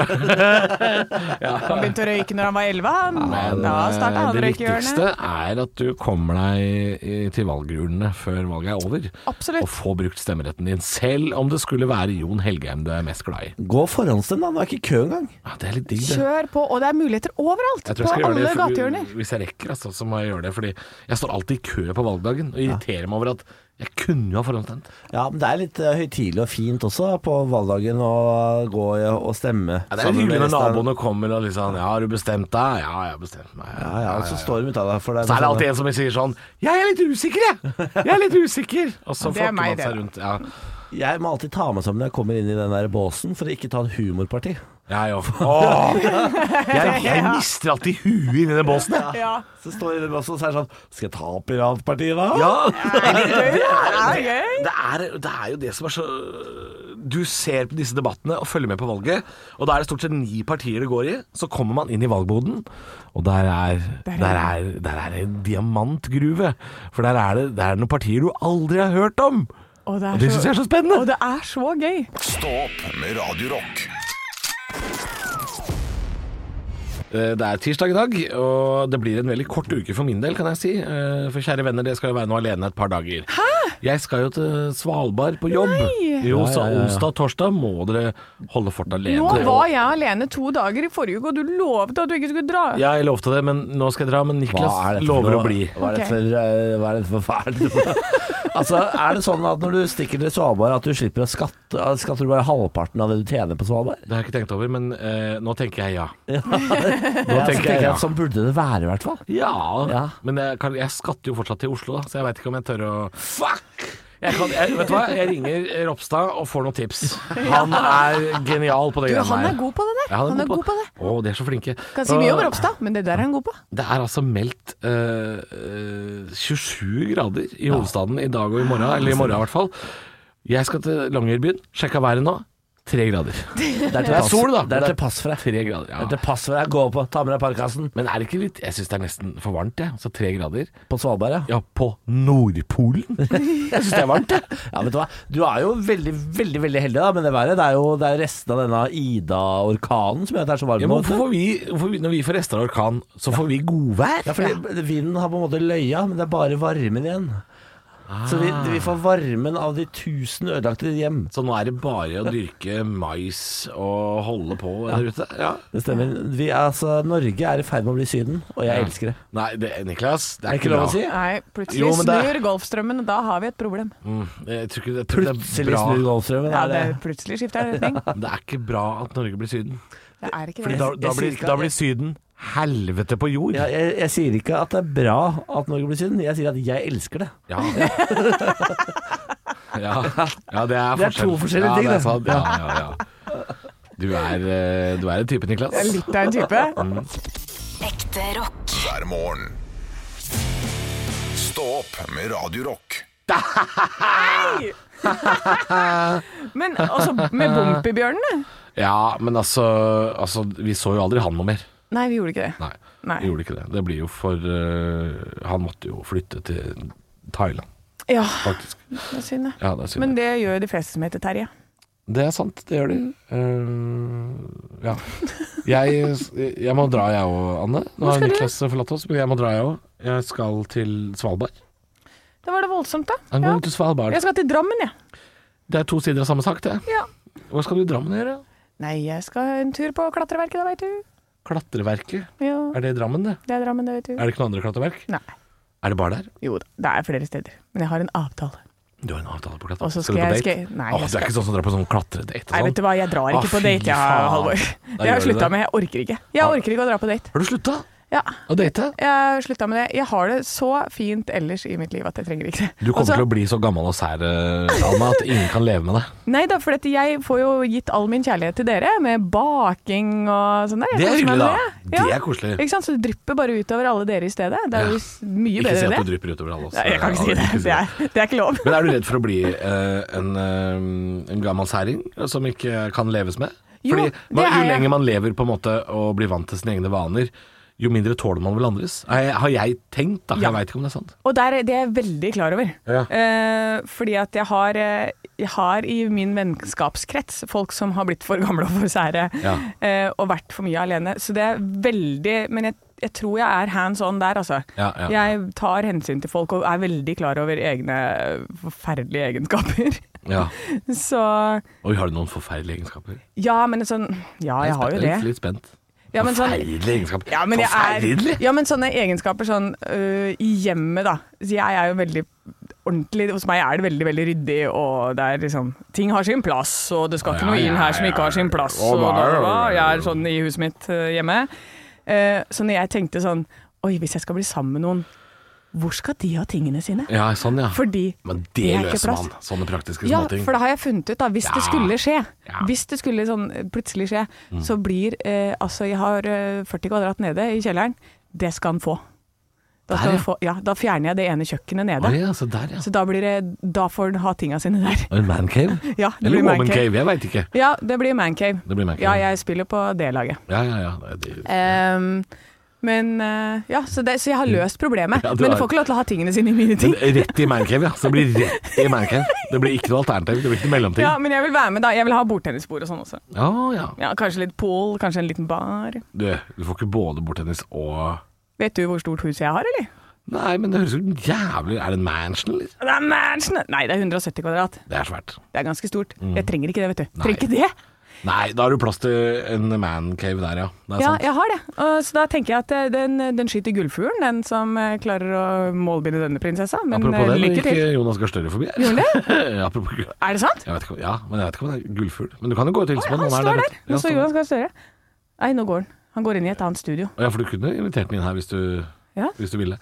S4: Han begynte å røyke når han var 11, han. Da starta han
S5: Eh, det
S4: røykehjørnet.
S5: viktigste er at du kommer deg i- til valgurnene før valget er over.
S4: Absolutt.
S5: Og få brukt stemmeretten din, selv om det skulle være Jon Helgheim du er mest glad i.
S3: Gå forhåndsstemt, da. Det er ikke i kø engang.
S5: Ja, det er litt digg, det.
S4: Kjør på, og det er muligheter overalt.
S5: Jeg tror
S4: På
S5: jeg skal gjøre
S4: alle
S5: det
S4: gatehjørner.
S5: for, hvis jeg rekker, altså, så må jeg gjøre det. Fordi jeg står alltid i kø på valgdagen og irriterer meg over at jeg kunne jo ha forhåndsstemt.
S3: Ja, men det er litt eh, høytidelig og fint også på valgdagen å gå i og stemme.
S5: Ja, det er litt hyggelig når naboene kommer og liksom Ja, har du bestemt deg? Ja, jeg har bestemt meg.
S3: Ja, ja, og så står de ut av deg for liksom- deg.
S5: Så er det alltid en som sier sånn Jeg er litt usikker, jeg! Jeg er litt usikker! Og så
S4: Det er
S5: flokker
S4: meg,
S5: man seg
S4: det.
S5: rundt. Ja,
S3: Jeg må alltid ta med sammen når jeg kommer inn i den der båsen, for å ikke ta en humorparti.
S5: jeg òg. Åh! Jeg, jeg mister alltid huet inni den båsen, jeg.
S4: Ja,
S3: Så står jeg i den båsen og så er det sånn Skal jeg ta piratpartiet da?
S5: Ja.
S4: det er gøy.
S5: Det er, det er jo det som er så du ser på disse debattene og følger med på valget, og da er det stort sett ni partier det går i. Så kommer man inn i valgboden, og der er,
S4: Der er-
S5: der er, der er en diamantgruve. For der er det, der er noen partier du aldri har hørt om.
S4: Og
S5: Og det
S4: så-
S5: synes jeg er så spennende.
S4: Og det er så gøy.
S2: Stå opp med Radio Rock.
S5: Eh, Det er tirsdag i dag, og det blir en veldig kort uke for min del, kan jeg si. Eh, For kjære venner, det skal jo være nå alene et par dager. Hæ? Jeg skal jo til Svalbard på jobb.
S4: Nei!
S5: Jo,
S3: Ja,
S5: så
S3: ja, ja, ja.
S5: onsdag og torsdag må dere holde fort alene.
S4: Nå var jeg alene to dager i forrige uke, og du lovte at du ikke skulle dra.
S5: Ja, jeg lovte det, men nå skal jeg dra. Men
S3: Hva er
S5: Niklas
S3: dette
S5: lover
S3: for
S5: å
S3: noe?
S5: bli.
S3: Hva er det
S4: Ok.
S3: for, eh, hva er det for fælt? altså, er det sånn at når du stikker til Svalbard, at du slipper å skatte? eh, Skatter du bare halvparten av det du tjener på Svalbard?
S5: Det har jeg ikke tenkt over, men eh, nå tenker jeg ja.
S3: Nå
S5: tenker jeg ja.
S3: Sånn burde det være, i hvert fall.
S5: Ja,
S3: Ja.
S5: men jeg, kan, jeg skatter jo fortsatt til Oslo, da, så jeg veit ikke om jeg tør å Fuck! Jeg kan, jeg, vet du hva, jeg ringer Ropstad og får noen tips. Han er genial på det
S4: Du,
S5: greiene
S4: han
S5: her.
S4: er god på det der.
S5: Ja,
S4: han er god på det.
S5: Å, de er så flinke.
S4: Kan si mye om
S5: Og
S4: Ropstad, men det der er han god på.
S5: Det er altså meldt eh, eh, 27 grader i hovedstaden i dag og i morgen, eller i morgen i hvert fall. Jeg skal til Longyearbyen, sjekka været nå. Tre grader.
S3: Det er, til
S5: Det er
S3: pass-
S5: sol, da.
S3: Det er til pass for deg.
S5: Tre grader,
S3: Det er
S5: ja.
S3: til pass for deg. Gå på, ta med deg parkasen.
S5: Men er det ikke litt Jeg syns det er nesten for varmt, jeg. Så tre grader.
S3: På Svalbard, ja.
S5: Ja, på Nordpolen. Jeg syns det er varmt, jeg.
S3: Ja, vet Du hva? Du er jo veldig veldig, veldig heldig da med det været. Det er jo det er resten av denne Ida-orkanen som gjør at det er så varmt.
S5: Ja, men
S3: nå,
S5: hvorfor
S3: vet du.
S5: får vi, hvorfor, vi- når vi får rester av orkan, så får vi godvær?
S3: ja, fordi Vinden har på en måte løya, men det er bare varmen igjen. Så vi, vi får
S5: Ah.
S3: varmen av de tusen ødelagte hjem.
S5: Så nå er det bare å dyrke mais og holde på der ute? Ja.
S3: Det stemmer. Vi er, altså, Norge er i ferd med å bli Syden, og jeg elsker det.
S5: Nei, det, Niklas, det
S3: Er
S5: er
S3: det ikke
S5: ikke
S3: lov å
S5: bra.
S3: si?
S4: Nei, plutselig
S5: Jo, men det er-
S4: snur Golfstrømmen, og da har vi et problem.
S5: Mm, jeg tror ikke, jeg tror det er
S3: Plutselig snur
S5: bra.
S3: Golfstrømmen.
S4: Ja,
S3: er
S4: det plutselig skifter jeg retning.
S5: Det er ikke bra at Norge blir Syden.
S4: Det er ikke
S5: Fordi
S4: det.
S5: da,
S3: Jeg-
S5: da,
S3: jeg
S5: blir,
S3: sier ikke
S5: da
S3: at-
S5: blir Syden helvete på jord.
S3: Ja, jeg, jeg sier ikke at det er bra at Norge blir Syden, jeg sier at jeg elsker det.
S5: Ja. ja. ja,
S3: Det
S5: det er
S3: er
S5: forskjell.
S3: to forskjellige
S5: ja,
S3: ting,
S5: det.
S3: det.
S5: Er sant. Ja, ja, ja. Du er, eh, du er en type, Niklas.
S4: Jeg er Litt av en type.
S1: Ekte rock.
S2: hver morgen. Stå opp med Radio Rock.
S4: Men også med Bompibjørnene.
S5: Ja, men altså, altså Vi så jo aldri han noe mer.
S4: Nei, vi gjorde ikke det.
S5: Nei,
S4: Nei.
S5: vi gjorde ikke det. Det blir jo for eh, Han måtte jo flytte til Thailand,
S4: Ja,
S5: faktisk.
S4: det er synd, det.
S5: Ja, det er synd.
S4: Men det gjør de fleste som heter Terje.
S5: Det er sant, det gjør de.
S4: Mm.
S5: Eh, ja. Jeg, jeg må dra, jeg òg, Anne. Nå har
S4: skal du?
S5: Niklas forlatt oss, men jeg må dra, jeg òg. Jeg skal til Svalbard.
S4: Det var det voldsomt, da.
S5: I'm
S4: Ja.
S5: going to Svalbard.
S4: Jeg skal til Drammen, jeg.
S5: Det er to sider av samme sak, det.
S4: Ja.
S5: Hva skal du i Drammen gjøre?
S4: Nei, jeg skal en tur på klatreverket, da, veit du.
S5: Klatreverket.
S4: Ja,
S5: Er det i Drammen, det?
S4: det er Drammen, det, veit du.
S5: Er det ikke noe andre klatreverk?
S4: Nei.
S5: Er det bare der?
S4: Jo da, det er flere steder. Men jeg har en avtale.
S5: Du har en avtale på klatreverk.
S4: Og så
S5: du
S4: skal
S5: på
S4: jeg-
S5: date?
S4: skal jeg- nei,
S5: Åh,
S4: jeg
S5: det er ikke sånn som drar på sånn klatredate og
S4: Nei, vet du
S5: sånn?
S4: hva, jeg drar ikke
S5: Å,
S4: på
S5: fy
S4: date, jeg,
S5: faen.
S4: Halvor.
S5: Da
S4: Det har jeg
S5: gjør du
S4: slutta
S5: det.
S4: med. Jeg orker ikke. Jeg orker ikke å dra på date.
S5: Har du slutta
S4: Ja,
S5: å date?
S4: jeg slutta med det. Jeg har det så fint ellers i mitt liv at jeg trenger ikke det.
S5: Du kommer til å bli så gammel og sær, eh, Anna, at ingen kan leve med deg.
S4: Nei da, for at jeg får jo gitt all min kjærlighet til dere, med baking og sånn der. Jeg
S5: Det er
S4: koser meg
S5: hyggelig, da.
S4: med det.
S5: Det
S4: Ja.
S5: er koselig.
S4: Ikke sant? Så det drypper bare utover alle dere i stedet. Det er jo
S5: Ja.
S4: s- mye
S5: Ikke
S4: bedre
S5: si at
S4: enn
S5: det
S4: det.
S5: drypper utover alle oss.
S4: Nei, jeg kan ikke si
S5: Ja,
S4: det.
S5: ikke si
S4: Det er, det er ikke lov.
S5: Men er du redd for å bli eh, en, eh, en gammel særing som ikke kan leves med?
S4: Jo,
S5: Fordi
S4: det
S5: man,
S4: er
S5: jo
S4: jeg.
S5: lenger man lever på en måte og blir vant til sine egne vaner, jo mindre tåler man vel andres. Har jeg, har jeg tenkt, da.
S4: Ja.
S5: Jeg veit ikke om det er sant.
S4: Og der, det er jeg veldig klar over.
S5: Ja.
S4: Eh, fordi at jeg har, eh, jeg har i min vennskapskrets folk som har blitt for gamle og for sære,
S5: Ja.
S4: eh, og vært for mye alene. Så det er veldig Men jeg, jeg tror jeg er hands on der, altså.
S5: Ja, ja.
S4: Jeg tar hensyn til folk og er veldig klar over egne eh, forferdelige egenskaper.
S5: Ja.
S4: Så
S5: Oi, har du noen forferdelige egenskaper?
S4: ja, men sånn Ja, jeg har jo
S5: er litt-
S4: det.
S5: Litt spent.
S4: Ja, men sånn,
S5: Forferdelige egenskaper.
S4: ja, men jeg
S5: Forferdelig!
S4: er, ja, men sånne egenskaper sånn øh, i hjemmet, da. Så Jeg er jo veldig ordentlig Hos meg er det veldig veldig ryddig, og det er liksom Ting har sin plass, og det skal
S5: Ja,
S4: ikke noe inn
S5: ja,
S4: her som
S5: ja,
S4: ikke har sin
S5: ja.
S4: plass.
S5: Å,
S4: Og da,
S5: nei,
S4: da, da,
S5: nei,
S4: jeg
S5: nei.
S4: er sånn i huset mitt øh, hjemme. Eh, så når jeg tenkte sånn Oi, hvis jeg skal bli sammen med noen, hvor skal de ha tingene sine?
S5: Ja, sånn, ja.
S4: Fordi
S5: men
S4: det
S5: det
S4: er ikke
S5: løser
S4: plass.
S5: man. Sånne praktiske
S4: Ja,
S5: småting.
S4: for det har jeg funnet ut, da. Hvis det
S5: Ja.
S4: skulle skje,
S5: Ja. Mm.
S4: hvis det skulle sånn eh, plutselig skje, så blir eh, Altså, jeg har eh, 40 kvadrat nede i kjelleren. Det skal han få. Da,
S5: Der,
S4: skal
S5: ja.
S4: vi få, ja, da fjerner jeg det ene kjøkkenet nede.
S5: Å ja, så der, ja.
S4: Så da, blir det, da får den ha tinga sine der.
S5: En mancave?
S4: Ja, det
S5: Eller
S4: blir man
S5: woman
S4: cave.
S5: cave, jeg veit ikke.
S4: Ja, det blir mancave.
S5: Det blir man cave.
S4: Ja, jeg spiller på det laget.
S5: Ja, ja, ja. Det- det-
S4: Ehm, men eh, ja, så, det, så jeg har løst problemet.
S5: Ja, du
S4: men
S5: har-
S4: du får ikke lov til å ha tingene sine i mine ting.
S5: Men rett i mancave, ja. Så det blir rett i mancave. Det blir ikke noe alternativ. Det blir ikke noe mellomting.
S4: Ja,
S5: Ja,
S4: men jeg vil være med, da. Jeg vil ha bordtennisbord og sånn også.
S5: ja.
S4: Ja, Kanskje litt pool, kanskje en liten bar.
S5: Du, du får ikke både bordtennis og
S4: Vet du hvor stort hus jeg har, eller?
S5: Nei, men det høres jo jævlig Er det en mansion, eller?
S4: Det er mansion! Nei, det er 170 kvadrat.
S5: Det er svært.
S4: Det er ganske stort. Jeg trenger ikke det, vet du.
S5: Mm. Nei.
S4: Trenger ikke det?
S5: Nei, da har du plass til en mancave der, ja. Det er
S4: Ja,
S5: sant.
S4: jeg har det. Og Så da tenker jeg at eh, den, den skyter gullfuglen, den som eh, klarer å målbinde denne prinsessa. Men
S5: Apropos
S4: eh,
S5: det, nå
S4: lykke
S5: gikk
S4: til.
S5: eh, Jonas Gahr Støre forbi her.
S4: Gjorde han
S5: Apropos jeg
S4: Er det sant?
S5: vet ikke, om- Ja, men jeg vet ikke om det er gullfugl. Men du kan jo gå og
S4: Å,
S5: hilse på
S4: ja,
S5: den.
S4: han står der.
S5: Ja,
S4: Nå
S5: står
S4: står Jonas Gahr Støre. Nei, nå går han. Han går inn i et annet studio.
S5: der. ja, for du kunne invitert den inn her hvis du,
S4: Ja.
S5: hvis du ville.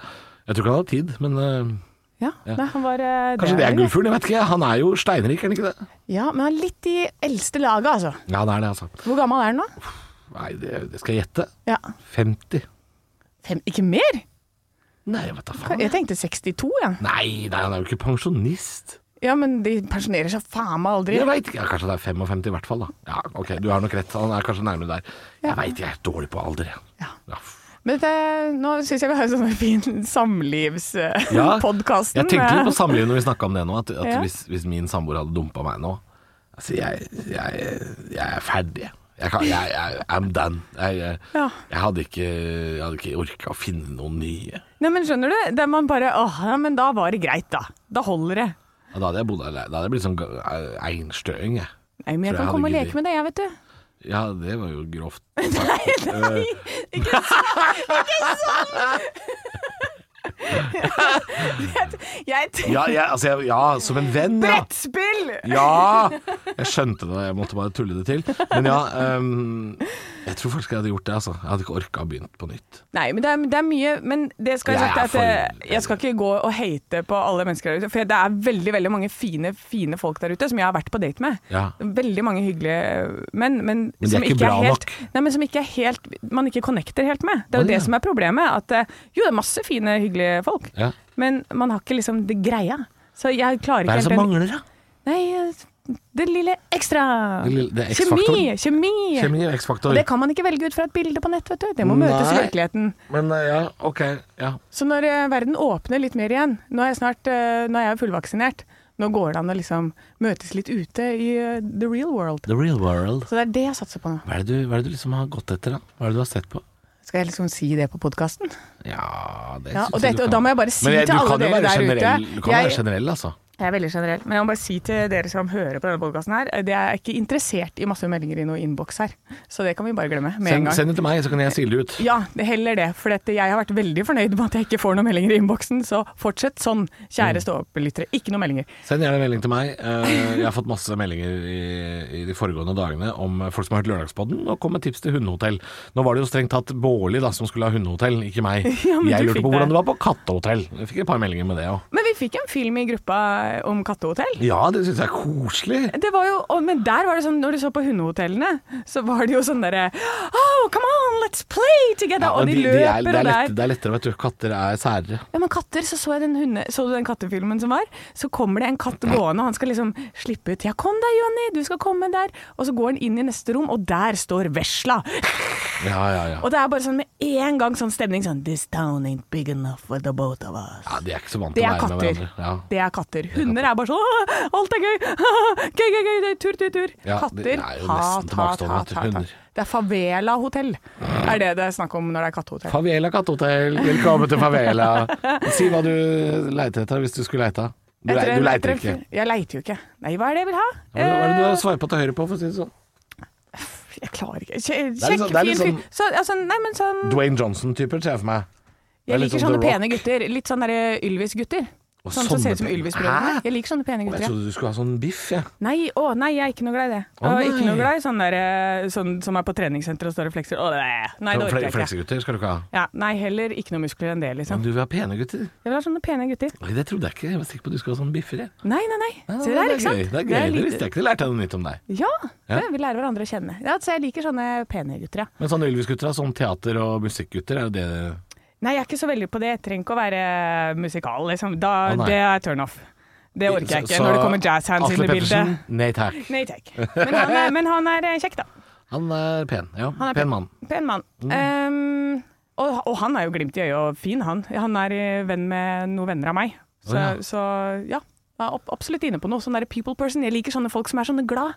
S5: Jeg tror ikke han hadde tid, men eh,
S4: Ja,
S5: Ja.
S4: Nei, han var eh,
S5: kanskje det
S4: der,
S5: er gullfugl? Jeg vet ikke. Han er jo steinrik, er han ikke det?
S4: Ja, men han er litt i eldste laget, altså.
S5: Ja, det er det, altså.
S4: Hvor gammel er han nå?
S5: Nei, det, det skal jeg gjette.
S4: Ja.
S5: 50.
S4: Fem, ikke mer?
S5: Nei, jeg vet da faen.
S4: Jeg tenkte 62, ja.
S5: Nei, nei, han er jo ikke pensjonist.
S4: Ja, men de pensjonerer seg faen meg aldri.
S5: Jeg vet ikke, ja, Kanskje det er 55 i hvert fall, da. Ja, ok, Du har nok rett, han er kanskje nærmere der. Jeg veit jeg er dårlig på alder, jeg.
S4: Ja.
S5: Ja.
S4: Men det, nå syns jeg vi har en sånn fin
S5: Ja,
S4: samlivspodkast.
S5: Jeg tenkte litt på samlivet når vi snakka om det nå, at, at
S4: Ja.
S5: hvis, hvis min samboer hadde dumpa meg nå Altså, jeg, jeg, jeg er ferdig, jeg. Jeg, kan, jeg, jeg I'm done. Jeg, jeg,
S4: Ja.
S5: jeg hadde ikke, jeg hadde ikke orka å finne noen nye.
S4: Nei, men skjønner du? Det er man bare åh, ja, men da var det greit, da. Da holder det.
S5: Ja, Da hadde jeg bodd alene. Da hadde jeg blitt sånn ga- einstøing, jeg.
S4: Nei, men jeg kan
S5: Tror jeg hadde
S4: komme og
S5: giddet.
S4: leke med det, jeg, vet du.
S5: Ja, det var jo grovt.
S4: sånn.
S5: Eh.
S4: Jeg tenker
S5: Ja, jeg, altså, jeg, ja som en venn, ja.
S4: Brettspill!
S5: Ja! Jeg skjønte det, jeg måtte bare tulle det til. Men ja, ehm, jeg tror faktisk jeg hadde gjort det. altså Jeg hadde ikke orka å begynt på nytt.
S4: Nei, men det er, det er mye Men det skal jeg,
S5: Jeg
S4: sagt,
S5: er
S4: er at
S5: for-
S4: eh, jeg skal ikke gå og hate på alle mennesker der ute. For det er veldig veldig mange fine fine folk der ute som jeg har vært på date med.
S5: Ja.
S4: Veldig mange hyggelige menn, men,
S5: de er
S4: som
S5: ikke bra
S4: helt,
S5: nok.
S4: Nei, men som ikke er helt man ikke connecter helt med. Det er
S5: Å,
S4: jo det
S5: ja.
S4: som er problemet. At eh, jo, det er masse fine, hyggelige folk,
S5: Ja.
S4: men man har ikke liksom det greia. Så jeg klarer
S5: Hva
S4: ikke
S5: er det som
S4: den-
S5: mangler, da?
S4: Nei, eh, det lille ekstra.
S5: Det lille- det er
S4: kjemi,
S5: X-faktoren.
S4: kjemi.
S5: Kjemi og
S4: Og
S5: X-faktor.
S4: det kan man ikke velge ut fra et bilde på nett, vet du. Det må møtes i
S5: Nei.
S4: virkeligheten.
S5: Men eh, ja, ok. Ja.
S4: Så når eh, verden åpner litt mer igjen, nå er jeg snart eh, nå er jeg fullvaksinert, nå går det an å liksom møtes litt ute i eh, the real world.
S5: The real world.
S4: Så det er det jeg satser på nå.
S5: Hva er, det du, hva er det du liksom har gått etter, da? Hva er det du har sett på?
S4: Skal jeg liksom si det på podkasten?
S5: Ja, det
S4: Ja,
S5: synes
S4: og,
S5: jeg
S4: dette-
S5: du
S4: og
S5: kan.
S4: da må jeg bare si
S5: Men jeg-
S4: til
S5: du
S4: alle
S5: kan jo
S4: dere
S5: være
S4: der
S5: generell, Du
S4: ute
S5: kan være
S4: jeg,
S5: generell, altså.
S4: jeg er veldig generell, men jeg må bare si til dere som hører på denne podkasten her, eh, det er ikke interessert i masse meldinger i noe innboks her. Så det kan vi bare glemme med en
S5: Send,
S4: gang.
S5: send det til meg, så kan jeg sile det ut.
S4: Ja, det heller det. For dette, jeg har vært veldig fornøyd med at jeg ikke får noen meldinger i innboksen, så fortsett sånn,
S5: Mm.
S4: kjære stå-opp-lyttere. Ikke noen meldinger.
S5: Send gjerne en melding til meg. Eh, Jeg har fått masse meldinger i, i de foregående dagene om folk som har hørt Lørdagspodden, og kom med tips til hundehotell. Nå var det jo strengt tatt Bårli da, som skulle ha hundehotell, ikke meg.
S4: Ja, men
S5: jeg
S4: du
S5: lurte
S4: fikk
S5: på hvordan
S4: det.
S5: det var på kattehotell. Jeg fikk et par meldinger med det òg.
S4: Men vi fikk en film i gruppa om kattehotell.
S5: Ja, det syns jeg er koselig.
S4: Det var jo, å, men der var det sånn, når du så på hundehotellene, så var det jo sånn derre Oh, come on, let's play together!
S5: Ja,
S4: og
S5: men
S4: de,
S5: de- de
S4: løper
S5: er, det, er
S4: og
S5: lett,
S4: der.
S5: det er lettere, vet du. Katter er særere.
S4: Ja, men katter, så så jeg den hunde, så du den kattefilmen som var? Så kommer det en katt gående, og han skal liksom slippe ut. Ja, kom deg, Jonny, du skal komme der. Og så går han inn i neste rom, og der står vesla.
S5: Ja, ja, ja.
S4: Og det er bare sånn med en gang sånn stemning sånn This town ain't big enough for the both of us.
S5: ja de er ikke så vant
S4: Det
S5: til å
S4: er
S5: være med
S4: katter.
S5: hverandre. Ja.
S4: Det er katter. Hunder er bare sånn «Åh, Alt er gøy! Gøy, gøy, gøy! Det er tur, tur, tur.
S5: Ja, det er
S4: katter
S5: jo nesten tilbakestående at hunder-
S4: Det er favela-hotell, er det det er snakk om når det er kattehotell.
S5: Favela kattehotell, velkommen til favela. Si hva du leiter etter hvis du skulle leita. Du,
S4: Etter
S5: le-
S4: en-
S5: du
S4: etter
S5: leiter
S4: en
S5: ikke.
S4: fyr- Jeg leiter jo ikke. Nei, hva er det jeg vil ha?
S5: Hva er det- hva er det du har
S4: Eh,
S5: sveipa til høyre på, for å si det sånn?
S4: Jeg klarer ikke Kje-
S5: er litt
S4: Kjekk,
S5: sånn- det er
S4: fin
S5: litt
S4: fyr.
S5: sånn-
S4: Så, altså, nei, men sånn
S5: Dwayne Johnson-typer, ser jeg for meg. det er
S4: Jeg
S5: litt
S4: liker
S5: sånn
S4: sånne
S5: The
S4: pene gutter. Litt sånn derre Ylvis-gutter.
S5: Og
S4: Sånn som
S5: sånne
S4: ser ut som
S5: pene-
S4: Ylvis-brødrene.
S5: Hæ?
S4: Jeg liker sånne pene
S5: Jeg
S4: gutter. ja.
S5: trodde du skulle ha sånn biff, jeg.
S4: Nei, å nei, jeg er ikke noe glad i det.
S5: Å,
S4: Og ikke
S5: nei.
S4: noe glad i sånn der, eh, sånn som er på treningssenter og står og flekser. Å, nei, nei, det orker
S5: Sånn Fle
S4: jeg ikke.
S5: Fleksegutter skal du ikke ha.
S4: Ja, nei, heller ikke noe muskler enn det, liksom.
S5: Men du vil ha pene gutter.
S4: Jeg vil ha sånne pene gutter.
S5: Oi, det trodde jeg ikke. Jeg var sikker på at du skulle ha sånn biffer, jeg.
S4: Nei, nei, nei.
S5: Ja,
S4: Se der, ikke sant?
S5: gøy. Det er gøy. Det
S4: litt-
S5: visste jeg ikke. Det lærte jeg noe nytt om deg.
S4: Ja,
S5: Ja.
S4: det, vi lærer hverandre å kjenne. Ja, så jeg liker sånne pene gutter, ja.
S5: Men sånn Ylvis-gutter er sånn teater- og musikkgutter, er det det
S4: Nei, jeg er ikke så veldig på det. Jeg trenger ikke å være musikal, liksom. Da,
S5: Å, nei.
S4: det er turnoff. Det orker jeg ikke
S5: Så-
S4: når det kommer jazzhands
S5: Atle
S4: inn i bildet.
S5: Pettersen, Nei takk.
S4: Nei takk. Men han er, men han er eh, kjekk, da.
S5: Han er pen. Ja,
S4: Han er
S5: pen mann.
S4: Pen mann.
S5: Mm.
S4: Ehm, og, og han er jo glimt i øyet og fin, han. Han er eh, venn med noen venner av meg. Så,
S5: Å, ja.
S4: så ja. Jeg er opp- absolutt inne på noe. Sånn der people person. Jeg liker sånne folk som er sånne glad.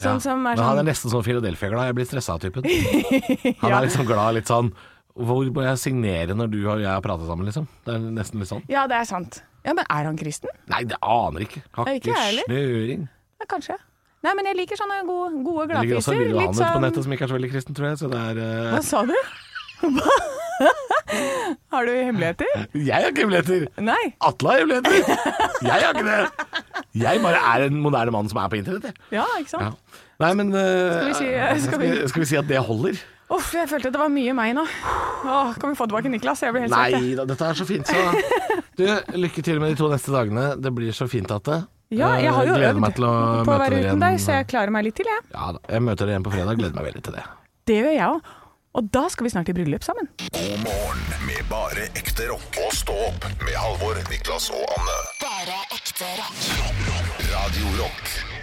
S4: Sånn
S5: Ja.
S4: som er
S5: Men han er
S4: sånn
S5: nesten sånn Philadelphia-glad. Jeg blir stressa av typen. Han er liksom glad litt sånn Hvor må jeg signere når du og jeg har pratet sammen, liksom? Det er nesten litt sånn.
S4: Ja, det er sant. Ja, Men er han kristen?
S5: Nei, det aner ikke. Har
S4: Ikke
S5: ikke
S4: jeg heller.
S5: snøring.
S4: Ja, kanskje. Nei, men jeg liker sånne gode, gode
S5: Det ligger også
S4: gladfiser.
S5: en Lille
S4: Litt
S5: Johannes på nettet
S4: sånn
S5: som ikke er så veldig kristen, tror jeg. Så det er eh,
S4: Hva sa du? Hva? Har du hemmeligheter?
S5: Jeg har ikke hemmeligheter!
S4: Nei.
S5: Atle har hemmeligheter! Jeg har ikke det! Jeg bare er en moderne mann som er på internett, jeg.
S4: Ja, ikke sant?
S5: Ja. Nei, men eh,
S4: Skal vi si- skal vi-
S5: skal vi si at det holder?
S4: Uff, jeg følte det var mye meg nå. Åh, kan vi få tilbake Niklas? Jeg blir helt svett. jeg.
S5: Nei da, dette er så fint, så. Du, lykke til med de to neste dagene. Det blir så fint at det.
S4: Ja, jeg har jo
S5: gleder
S4: øvd
S5: meg til å
S4: på å
S5: møte
S4: være
S5: dere
S4: uten deg,
S5: igjen.
S4: så jeg klarer meg litt til, jeg.
S5: Ja da, jeg møter dere igjen på fredag. Gleder meg veldig til det.
S4: Det gjør jeg òg. Og da skal vi snart i bryllup sammen.
S2: God morgen med bare ekte rock. Og stå opp med Halvor, Niklas og Anne.
S1: Bare ekte rock.
S2: Radio Rock.